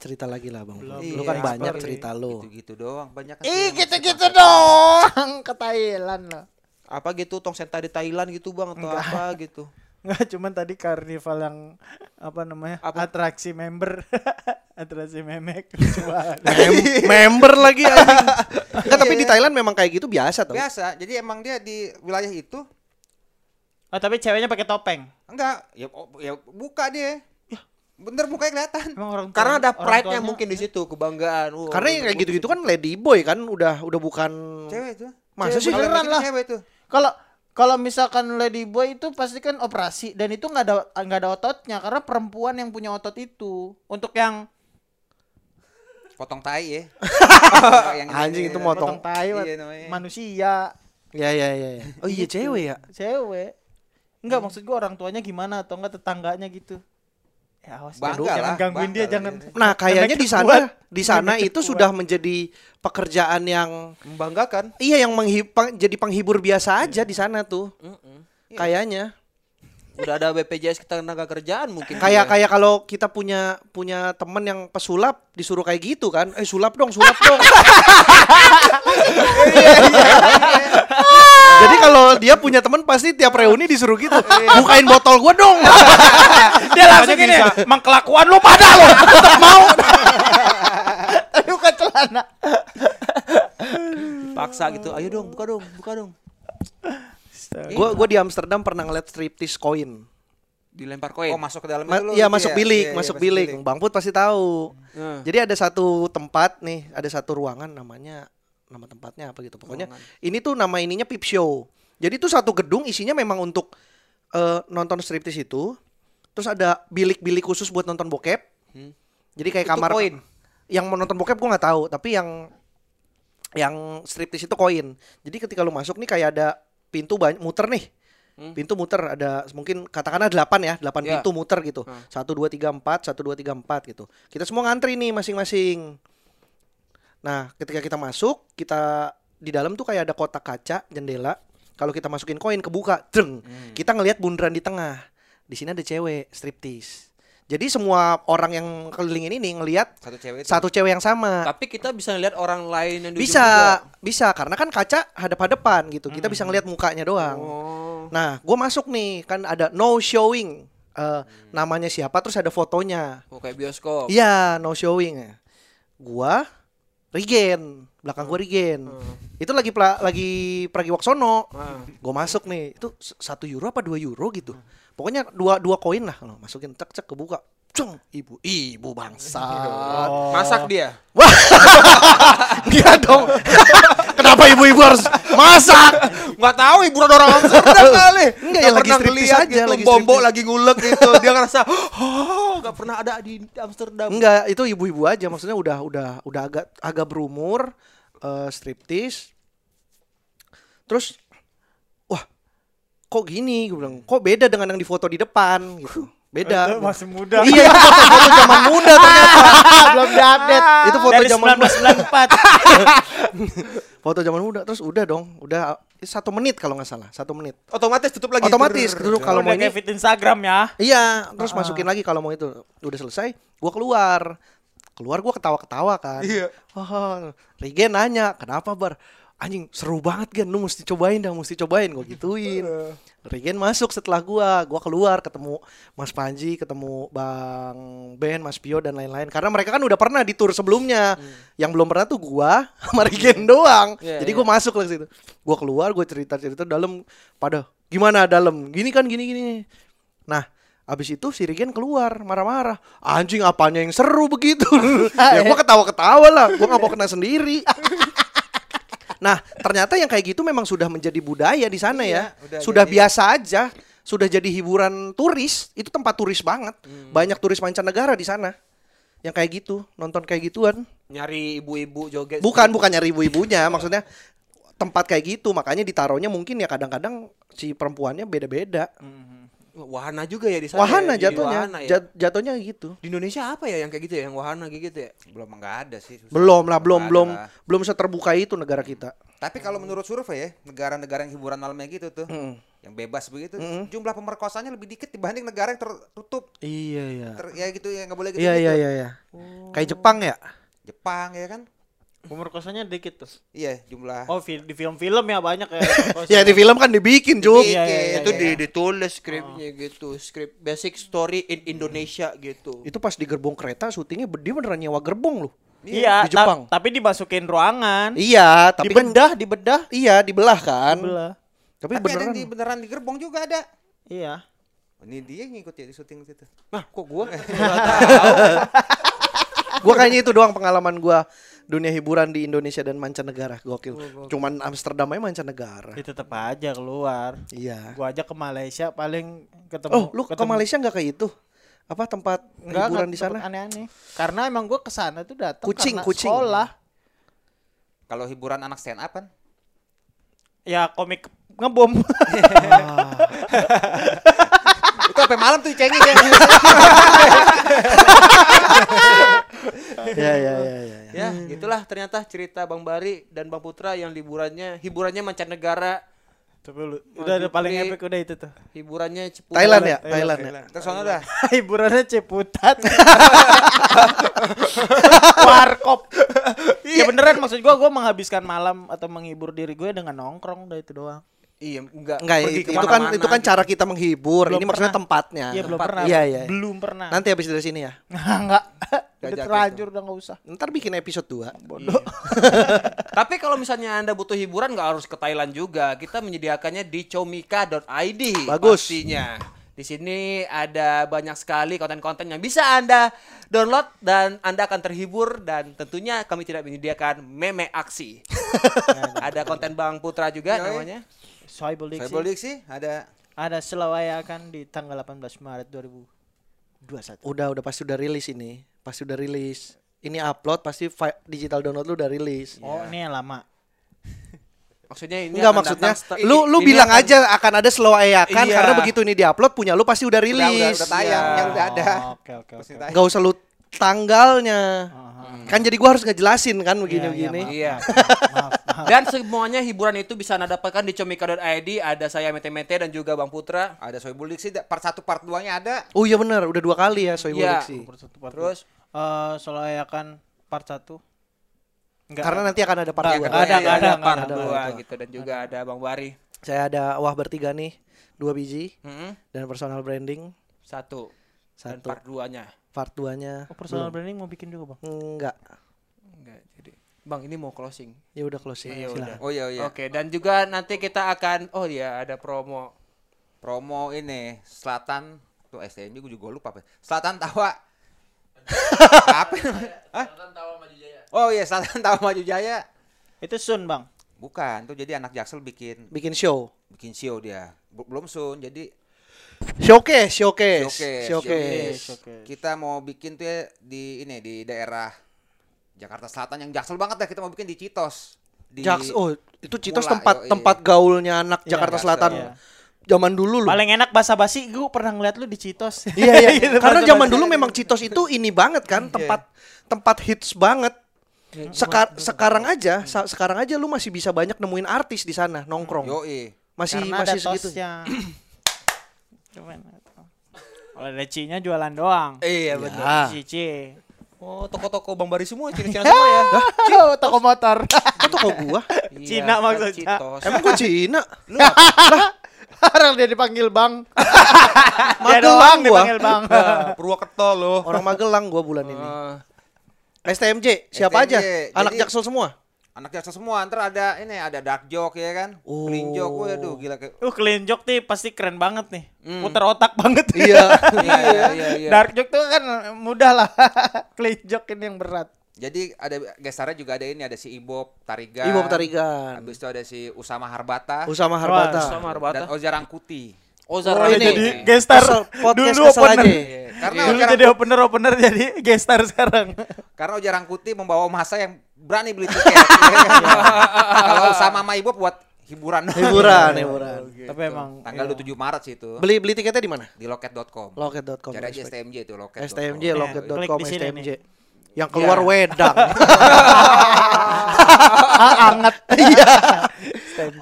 Speaker 2: Cerita lagi lah bang.
Speaker 4: Belum,
Speaker 2: Lu
Speaker 1: belum.
Speaker 2: kan
Speaker 1: Iya,
Speaker 2: banyak
Speaker 1: seperti
Speaker 2: cerita lu.
Speaker 3: Gitu-gitu doang banyak.
Speaker 5: Ih
Speaker 3: kan sih yang
Speaker 5: gitu-gitu dong ke Thailand loh.
Speaker 1: Apa gitu tong senta di Thailand gitu bang atau apa gitu?
Speaker 4: Nggak, cuman tadi karnival yang apa namanya?
Speaker 1: Apa?
Speaker 4: Atraksi member. Atraksi memek. Coba.
Speaker 2: Mem- member lagi anjing. Enggak, tapi di Thailand memang kayak gitu Iya. biasa tau.
Speaker 3: Biasa. Jadi emang dia di wilayah itu
Speaker 4: oh, tapi ceweknya pakai topeng.
Speaker 3: enggak ya, oh, ya buka dia.
Speaker 2: Iya.
Speaker 3: Bener mukanya kelihatan.
Speaker 4: Emang orang
Speaker 1: Karena ada
Speaker 4: tuanya- orang
Speaker 1: pride-nya
Speaker 4: tuanya-
Speaker 1: mungkin di situ, kebanggaan. Wow,
Speaker 2: Karena yang kayak gitu-gitu kan lady boy kan udah udah bukan
Speaker 3: Cewek itu.
Speaker 2: Masa sih?
Speaker 3: Kalau yang
Speaker 5: Beneran
Speaker 3: gitu
Speaker 5: lah.
Speaker 3: Cewek itu.
Speaker 5: Kalau kalau misalkan lady boy itu pasti kan operasi dan itu nggak ada nggak ada ototnya karena perempuan yang punya otot itu.
Speaker 4: untuk yang
Speaker 3: Potong tai ya. Yang ini-
Speaker 2: Anjing, itu
Speaker 3: ini-
Speaker 2: motong.
Speaker 5: Potong tai
Speaker 3: Iya,
Speaker 5: wat-
Speaker 3: namanya.
Speaker 5: manusia
Speaker 2: Ya ya ya. ya. Oh iya cewek ya.
Speaker 5: cewek.
Speaker 4: enggak maksud gua orang tuanya gimana atau enggak tetangganya gitu. Ya awas
Speaker 3: Bangga
Speaker 4: jangan
Speaker 3: lah,
Speaker 4: gangguin
Speaker 3: bangga
Speaker 4: dia
Speaker 3: lah
Speaker 4: jangan.
Speaker 2: Nah, kayaknya
Speaker 4: Nenek
Speaker 2: di sana
Speaker 4: kuat.
Speaker 2: di sana
Speaker 4: Nenek
Speaker 2: itu
Speaker 4: kuat.
Speaker 2: sudah menjadi pekerjaan yang
Speaker 1: membanggakan.
Speaker 2: iya yang menghi- peng- jadi penghibur biasa aja di sana tuh. Kayaknya.
Speaker 1: Udah ada BPJS ketenaga kerjaan mungkin. Iya.
Speaker 2: Kayak
Speaker 1: dia.
Speaker 2: kayak kalau kita punya punya temen yang pesulap disuruh kayak gitu kan. Eh sulap dong, sulap dong. Iya, Jadi kalau dia punya temen pasti tiap reuni disuruh gitu. Bukain botol gua dong.
Speaker 4: dia langsung gini, "Mang kelakuan lu pada lu."
Speaker 5: Tapi bukan celana.
Speaker 1: paksa gitu. Ayo dong, buka dong, buka dong.
Speaker 2: gua gua di Amsterdam pernah ngeliat striptease koin.
Speaker 1: Dilempar koin.
Speaker 3: Oh masuk ke dalam
Speaker 2: Ma-
Speaker 3: itu lu,
Speaker 2: iya
Speaker 3: gitu
Speaker 2: masuk
Speaker 3: ya?
Speaker 2: bilik,
Speaker 3: Iya, iya,
Speaker 2: masuk bilik. Bang Put pasti tahu.
Speaker 1: Nah.
Speaker 2: Jadi ada satu tempat nih, ada satu ruangan namanya nama tempatnya apa gitu. Pokoknya ini tuh nama ininya Peep Show. Jadi tuh satu gedung isinya memang untuk eh, nonton striptease itu. Terus ada bilik-bilik khusus buat nonton bokep. Jadi kayak
Speaker 1: Hmm. Itu
Speaker 2: kamar
Speaker 1: koin.
Speaker 2: yang mau nonton bokep gua nggak tahu, tapi yang yang striptease itu koin. Jadi ketika lu masuk nih kayak ada pintu banyak muter nih. Pintu muter ada mungkin katakanlah 8 ya, 8
Speaker 1: Ya.
Speaker 2: pintu muter gitu.
Speaker 1: Hmm.
Speaker 2: 1 2 3 4, 1 2 3 4 gitu. Kita semua ngantri nih masing-masing. Nah, ketika kita masuk, kita di dalam tuh kayak ada kotak kaca jendela. Kalau kita masukin koin kebuka,
Speaker 1: Hmm.
Speaker 2: dreng.
Speaker 3: Hmm.
Speaker 2: Kita ngelihat bundaran di tengah. Di sini ada cewek striptease. Jadi semua orang yang kelilingin ini ngelihat
Speaker 3: Satu cewek itu.
Speaker 2: satu cewek yang sama.
Speaker 1: Tapi kita bisa lihat orang lain yang di ujung
Speaker 2: Bisa, bisa karena kan kaca hadap-hadapan gitu. Kita bisa ngelihat mukanya
Speaker 1: juga.
Speaker 2: doang.
Speaker 1: Hmm. Oh.
Speaker 2: Nah, gue masuk nih kan ada no showing. Eh, namanya siapa terus ada fotonya.
Speaker 1: Oh, kayak bioskop.
Speaker 2: Iya, no showing. Gua Regen, belakang gua Regen. Itu lagi pla- lagi pergi Waksono. Gua masuk nih. Itu s- satu euro apa dua euro gitu. Pokoknya dua dua koin lah kalau masukin cek cek kebuka. Cung, ibu ibu bangsa.
Speaker 1: Masak dia.
Speaker 2: Dia Iya dong. Kenapa ibu-ibu harus masak?
Speaker 1: Nggak tahu hiburan orang Amsterdam kali.
Speaker 2: Enggak, ya lagi
Speaker 1: pernah
Speaker 2: striptease
Speaker 1: ngeliat
Speaker 2: aja,
Speaker 1: gitu,
Speaker 2: lagi
Speaker 1: bombo
Speaker 2: striptease.
Speaker 1: lagi ngulek gitu. Dia ngerasa, oh, nggak pernah ada di Amsterdam.
Speaker 2: Enggak, itu ibu-ibu aja maksudnya udah udah udah agak agak berumur eh, striptease. Terus wah, kok gini gue bilang, kok beda dengan yang di foto di depan gitu. Beda.
Speaker 4: Itu masih muda.
Speaker 2: iya, itu foto, foto zaman muda ternyata.
Speaker 5: Belum diupdate.
Speaker 2: Itu foto
Speaker 4: Dari
Speaker 2: zaman
Speaker 4: 1994.
Speaker 2: foto zaman muda terus udah dong udah eh, satu menit kalau nggak salah satu menit
Speaker 1: Otomatis tutup lagi.
Speaker 2: otomatis
Speaker 1: Brrrr.
Speaker 2: duduk kalau
Speaker 4: Kalau
Speaker 2: mau ini
Speaker 4: fit Instagram ya.
Speaker 2: iya terus masukin lagi kalau mau itu udah selesai gua keluar keluar gua ketawa-ketawa kan
Speaker 1: Iya.
Speaker 2: oh, Regen nanya kenapa bar anjing seru banget Gen lu mesti cobain dah mesti cobain gua gituin Regen masuk setelah gua gua keluar ketemu Mas Panji ketemu Bang Ben Mas Pio dan lain-lain karena mereka kan udah pernah di tour sebelumnya yang belum pernah tuh gua sama Regen doang
Speaker 1: Hmm. Iya,
Speaker 2: jadi gua masuk lah ke situ gua keluar gua cerita-cerita dalam pada gimana dalam gini kan gini gini nah Abis itu si Regen keluar marah-marah Anjing apanya yang seru begitu Ya gua ketawa-ketawa lah Gua gak mau kena sendiri Nah, ternyata yang kayak gitu memang sudah menjadi budaya di sana ya.
Speaker 3: Iya, udah
Speaker 2: sudah
Speaker 3: jadi-
Speaker 2: biasa aja, sudah jadi hiburan turis, itu tempat turis banget.
Speaker 3: Hmm.
Speaker 2: Banyak turis mancanegara di sana. Yang kayak gitu, nonton kayak gituan.
Speaker 1: Nyari ibu-ibu joget.
Speaker 2: Bukan bukannya ribu-ibunya, maksudnya tempat kayak gitu, makanya ditaruhnya mungkin ya kadang-kadang si perempuannya beda-beda.
Speaker 1: Wahana juga ya di sana. ya,
Speaker 2: Wahana
Speaker 1: di
Speaker 2: jatuhnya,
Speaker 1: wahana ya.
Speaker 2: jat- jatuhnya gitu.
Speaker 1: Di Indonesia apa ya yang kayak gitu ya, yang wahana kayak gitu ya?
Speaker 3: Belum enggak ada sih. susah.
Speaker 2: Belum lah, belum
Speaker 3: ada
Speaker 2: belum
Speaker 3: lah.
Speaker 2: belum seterbuka itu negara kita.
Speaker 3: Tapi kalau menurut survei ya, negara-negara yang hiburan malamnya gitu tuh, yang bebas begitu, jumlah pemerkosaannya lebih dikit dibanding negara yang tertutup,
Speaker 2: Iya, iya.
Speaker 3: ter, ya gitu ya nggak boleh gitu.
Speaker 2: Iya,
Speaker 3: gitu.
Speaker 2: iya, iya, iya. Kayak Jepang ya?
Speaker 3: Jepang ya kan,
Speaker 4: Pemerkosanya dikit tuh.
Speaker 3: iya jumlah.
Speaker 4: Oh, fi- di film-film ya banyak ya.
Speaker 2: Ya di film kan dibikin, Cuk.
Speaker 4: Iya, iya, iya,
Speaker 1: itu
Speaker 4: iya.
Speaker 1: di- ditulis skripnya gitu, skrip basic story in Indonesia gitu.
Speaker 2: Itu pas di gerbong kereta syutingnya ber- dia beneran nyewa gerbong loh.
Speaker 4: Iya,
Speaker 2: di Jepang.
Speaker 4: ta- tapi dimasukin ruangan.
Speaker 2: Iya, tapi kan
Speaker 4: dibedah, dibedah.
Speaker 2: iya dibelah kan.
Speaker 4: Dibelah.
Speaker 2: Tapi,
Speaker 3: Tapi ada
Speaker 2: beneran.
Speaker 3: yang di, beneran di gerbong juga ada.
Speaker 4: Iya.
Speaker 3: Ini dia yang ngikut ya di syuting situ.
Speaker 1: Nah, kok gua?
Speaker 2: Gua kayaknya itu doang pengalaman gua dunia hiburan di Indonesia dan mancanegara. Gokil. Cuman Amsterdam aja mancanegara.
Speaker 4: Ya tetap aja keluar.
Speaker 2: Iya.
Speaker 4: Gua aja ke Malaysia paling ketemu.
Speaker 2: Oh, lu ke
Speaker 4: ketemu-
Speaker 2: Malaysia nggak kayak itu? Apa tempat
Speaker 5: Enggak,
Speaker 2: hiburan
Speaker 5: enggak,
Speaker 2: di sana?
Speaker 5: tempat Aneh-aneh. Karena emang gue kesana tuh datang
Speaker 2: Kucing,
Speaker 5: karena
Speaker 2: kucing.
Speaker 5: sekolah.
Speaker 3: Kalau hiburan anak stand up kan,
Speaker 4: Ya komik ngebom.
Speaker 3: itu sampai malam tuh cengeng ya.
Speaker 2: Iya, iya, iya, iya. iya.
Speaker 1: ya, gitulah ternyata cerita Bang Bari dan Bang Putra yang liburannya hiburannya mancanegara,
Speaker 4: Tapi lu udah ada paling
Speaker 1: Tapi-
Speaker 4: epic udah itu tuh.
Speaker 1: hiburannya Ciputat.
Speaker 2: Thailand ya, Thailand ya.
Speaker 3: Terus sono dah.
Speaker 4: Hiburannya ceputat. Warkop.
Speaker 5: Iya,
Speaker 4: ya beneran maksud gua gua menghabiskan malam atau menghibur diri gue dengan nongkrong udah itu doang.
Speaker 1: Iya, enggak.
Speaker 2: Enggak,
Speaker 1: pergi
Speaker 2: itu, itu kan
Speaker 1: kemana-mana
Speaker 2: itu kan
Speaker 1: gitu.
Speaker 2: cara kita menghibur.
Speaker 4: Belum
Speaker 2: Ini maksudnya
Speaker 4: pernah.
Speaker 2: tempatnya.
Speaker 4: Iya belum
Speaker 2: Tempat.
Speaker 4: pernah.
Speaker 2: Iya, iya.
Speaker 4: Belum pernah.
Speaker 2: Nanti habis dari sini ya.
Speaker 5: Enggak. udah
Speaker 1: Jajak
Speaker 5: terlanjur udah enggak usah.
Speaker 2: Ntar bikin episode 2.
Speaker 1: Tapi kalau misalnya Anda butuh hiburan nggak harus ke Thailand juga. Kita menyediakannya di comika.id.
Speaker 2: Bagus.
Speaker 1: Pastinya. Di sini ada banyak sekali konten-konten yang bisa Anda download dan Anda akan terhibur dan tentunya kami tidak menyediakan meme aksi. ada konten Bang Putra juga
Speaker 3: Yoi.
Speaker 1: namanya.
Speaker 5: Soibel Dixie.
Speaker 3: Saya bolik sih ada
Speaker 5: Ada Selawaya akan di tanggal 18 Maret 2021.
Speaker 2: Udah, udah pasti udah rilis ini. Pasti udah rilis. Ini upload pasti fi- digital download lu udah rilis.
Speaker 4: Iya,
Speaker 5: Oh, ini yang lama.
Speaker 1: Maksudnya ini
Speaker 2: Enggak
Speaker 1: akan
Speaker 2: maksudnya
Speaker 1: kan datang setel-
Speaker 2: lu lu
Speaker 1: ini
Speaker 2: bilang
Speaker 1: akan-
Speaker 2: aja akan ada slow ayakan
Speaker 1: Iya.
Speaker 2: karena begitu ini diupload punya lu pasti udah
Speaker 3: udah, udah,
Speaker 2: rilis.
Speaker 3: udah tayang, Ah. yang udah ada.
Speaker 5: Oh, Oke, oke, oke.
Speaker 3: Tayang.
Speaker 2: Enggak usah lu tanggalnya. Kan jadi gua harus ngejelasin kan
Speaker 5: Iya, iya,
Speaker 2: begini-begini.
Speaker 1: Iya.
Speaker 5: Maaf, maaf.
Speaker 1: Dan semuanya hiburan itu bisa Anda dapatkan di comika.id. Ada saya Mete Mete dan juga Bang Putra.
Speaker 3: Ada Soy Bolik sih part 1 part 2-nya ada.
Speaker 2: oh iya benar, udah dua kali ya Soibul
Speaker 1: Iya.
Speaker 2: Diksi.
Speaker 1: Terus
Speaker 5: Eh, Selawaya akan part 1.
Speaker 2: Karena nanti akan ada part Iya.
Speaker 5: Enggak,
Speaker 1: Yang
Speaker 5: Nggak ada,
Speaker 1: kedua ya,
Speaker 5: nggak ada, nggak
Speaker 1: part
Speaker 5: ada,
Speaker 1: dua
Speaker 2: nggak ada.
Speaker 1: gitu dan juga ada Bang Bari.
Speaker 2: 2. Saya ada wah bertiga nih, dua biji
Speaker 1: Mm-mm.
Speaker 2: dan personal branding
Speaker 1: Satu. Dan
Speaker 2: satu.
Speaker 1: part duanya.
Speaker 2: Part 2-nya
Speaker 5: Oh, personal branding mau bikin juga, Bang.
Speaker 2: enggak.
Speaker 1: Enggak jadi. Bang ini mau closing.
Speaker 2: Ya udah closing.
Speaker 1: Iya,
Speaker 2: silakan.
Speaker 1: udah.
Speaker 3: Oh iya iya.
Speaker 1: Oke, dan juga nanti kita akan oh iya ada promo.
Speaker 3: Promo ini Selatan tuh STM juga gue lupa apa. Selatan Tawa. apa? Hah? Selatan Tawa Maju Jaya. Oh iya Selatan Tawa Maju Jaya.
Speaker 5: Itu Sun, Bang.
Speaker 3: Bukan, tuh jadi anak Jaksel bikin
Speaker 2: Bikin show.
Speaker 3: bikin show dia. Bel- Belum sun, jadi
Speaker 2: Showcase, showcase,
Speaker 3: showcase.
Speaker 2: showcase.
Speaker 3: showcase. Kita mau bikin tuh ya di ini di daerah Jakarta Selatan yang Jaksel banget dah kita mau bikin di Citos. Di
Speaker 2: Jaks, oh itu Citos
Speaker 3: Mula,
Speaker 2: tempat
Speaker 3: yoi.
Speaker 2: tempat gaulnya anak Jakarta
Speaker 3: Jaksel,
Speaker 2: Selatan
Speaker 3: iya.
Speaker 2: zaman dulu loh.
Speaker 5: Paling enak basa-basi gue pernah ngeliat lu di Citos.
Speaker 2: Iya iya.
Speaker 5: Gitu,
Speaker 2: Karena
Speaker 5: basa-basi.
Speaker 2: zaman dulu memang Citos itu ini banget kan tempat tempat hits banget. Sekar- sekarang aja, sa- sekarang aja lu masih bisa banyak nemuin artis di sana nongkrong.
Speaker 3: Yoi.
Speaker 2: Masih
Speaker 5: Karena
Speaker 2: masih
Speaker 5: ada
Speaker 2: segitu.
Speaker 4: ya.
Speaker 5: tosnya.
Speaker 4: Cuman itu. Kalau lecinya jualan doang.
Speaker 1: Iya benar.
Speaker 2: Ah.
Speaker 4: Cici.
Speaker 1: Oh toko-toko Bang Bari semua ciri-ciri semua ya.
Speaker 5: Tuh, Oh, toko motor.
Speaker 2: Itu toko gua.
Speaker 1: Iya, kan
Speaker 4: Cina maksudnya.
Speaker 1: Citos.
Speaker 2: Emang gua Cina.
Speaker 3: Lu apa?
Speaker 5: Orang dia dipanggil bang.
Speaker 4: Dia
Speaker 2: Magelang
Speaker 4: doang
Speaker 2: gua.
Speaker 4: dipanggil bang.
Speaker 2: Nah,
Speaker 3: Purwokerto lo.
Speaker 2: Orang Magelang gua bulan ini.
Speaker 1: Eh,
Speaker 2: STMJ siapa
Speaker 3: STMJ,
Speaker 2: aja? Anak
Speaker 3: jadi-
Speaker 2: Jaksel semua.
Speaker 3: Anak jaksa semua. Ntar ada ini ada dark joke ya kan.
Speaker 2: Oh.
Speaker 3: Clean joke. Waduh gila kayak.
Speaker 4: Uh, clean joke nih pasti keren banget nih. Putar otak banget.
Speaker 2: Iya.
Speaker 1: Iya iya iya. iya.
Speaker 5: Dark joke tuh kan mudah lah. Clean joke ini yang berat.
Speaker 3: Jadi ada gestarnya juga ada ini ada si Ibob Tarigan.
Speaker 2: Ibu Tarigan.
Speaker 3: Habis itu ada si Usama Harbata
Speaker 2: Usama Harbata.
Speaker 1: Sama Arbata.
Speaker 3: dan Oza Rangkuti.
Speaker 1: Ozar
Speaker 2: Oh, ini.
Speaker 4: Jadi
Speaker 1: Ramli.
Speaker 4: gestar
Speaker 2: Kesel, podcast
Speaker 4: dulu
Speaker 2: kesel aja.
Speaker 4: opener.
Speaker 3: Iya, Karena
Speaker 4: Dulu
Speaker 3: Oza
Speaker 4: jadi opener opener jadi gestar sekarang.
Speaker 3: Karena Oja Rangkuti membawa masa yang berani beli tiket. ya kan? Kalau sama sama ibu buat hiburan. doang.
Speaker 2: Hiburan, hiburan.
Speaker 4: Tapi emang Iya.
Speaker 3: Tanggal 27 Maret sih itu
Speaker 2: Beli beli tiketnya di mana?
Speaker 3: di loket.com.
Speaker 2: Loket.com.
Speaker 3: Cari aja
Speaker 2: respect.
Speaker 3: STMJ itu loket.
Speaker 2: STMJ
Speaker 3: loket.
Speaker 4: Klik
Speaker 2: loket.com
Speaker 4: di sini
Speaker 2: STMJ.
Speaker 4: nih. Iya.
Speaker 2: Yang keluar wedang. Ah,
Speaker 5: Anget.
Speaker 4: Iya.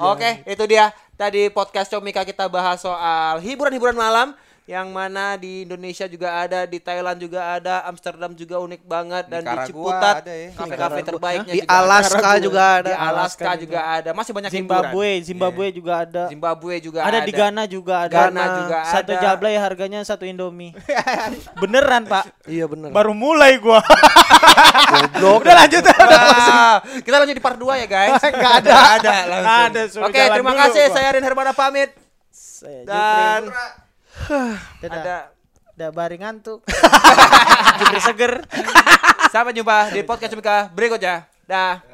Speaker 1: Oke, itu dia tadi podcast Comika kita bahas soal hiburan-hiburan malam yang mana di Indonesia juga ada, di Thailand juga ada, Amsterdam juga unik banget dan
Speaker 3: Nicaragua
Speaker 1: di Ciputat
Speaker 3: ada ya.
Speaker 1: kafe-kafe
Speaker 2: Nicaragua.
Speaker 1: terbaiknya
Speaker 2: Di
Speaker 1: juga ada.
Speaker 2: Alaska juga ada.
Speaker 1: Di Alaska
Speaker 4: Alaska
Speaker 1: juga ada. Masih banyak hiburan.
Speaker 4: Zimbabwe, Zimbabwe juga ada.
Speaker 1: Iya. Zimbabwe juga
Speaker 4: ada, di Ghana juga ada.
Speaker 1: Ghana juga
Speaker 4: satu
Speaker 1: ada. Iya,
Speaker 4: jablay harganya satu Indomie. Beneran, Pak.
Speaker 2: Iya bener.
Speaker 4: Baru mulai gua.
Speaker 2: Goblok.
Speaker 4: Udah lanjut.
Speaker 1: Wah, Nah, kita lanjut di part 2 ya guys. Enggak ada. ada langsung.
Speaker 4: Ada, suruh
Speaker 1: Oke,
Speaker 4: jalan
Speaker 1: terima
Speaker 4: dulu
Speaker 1: kasih.
Speaker 4: gua.
Speaker 1: Saya Rin Hermana pamit dan
Speaker 5: Dadah.
Speaker 1: ada
Speaker 5: Dadah baring ngantuk.
Speaker 4: Seger.
Speaker 1: sampai jumpa di podcast Comika berikutnya. Dah.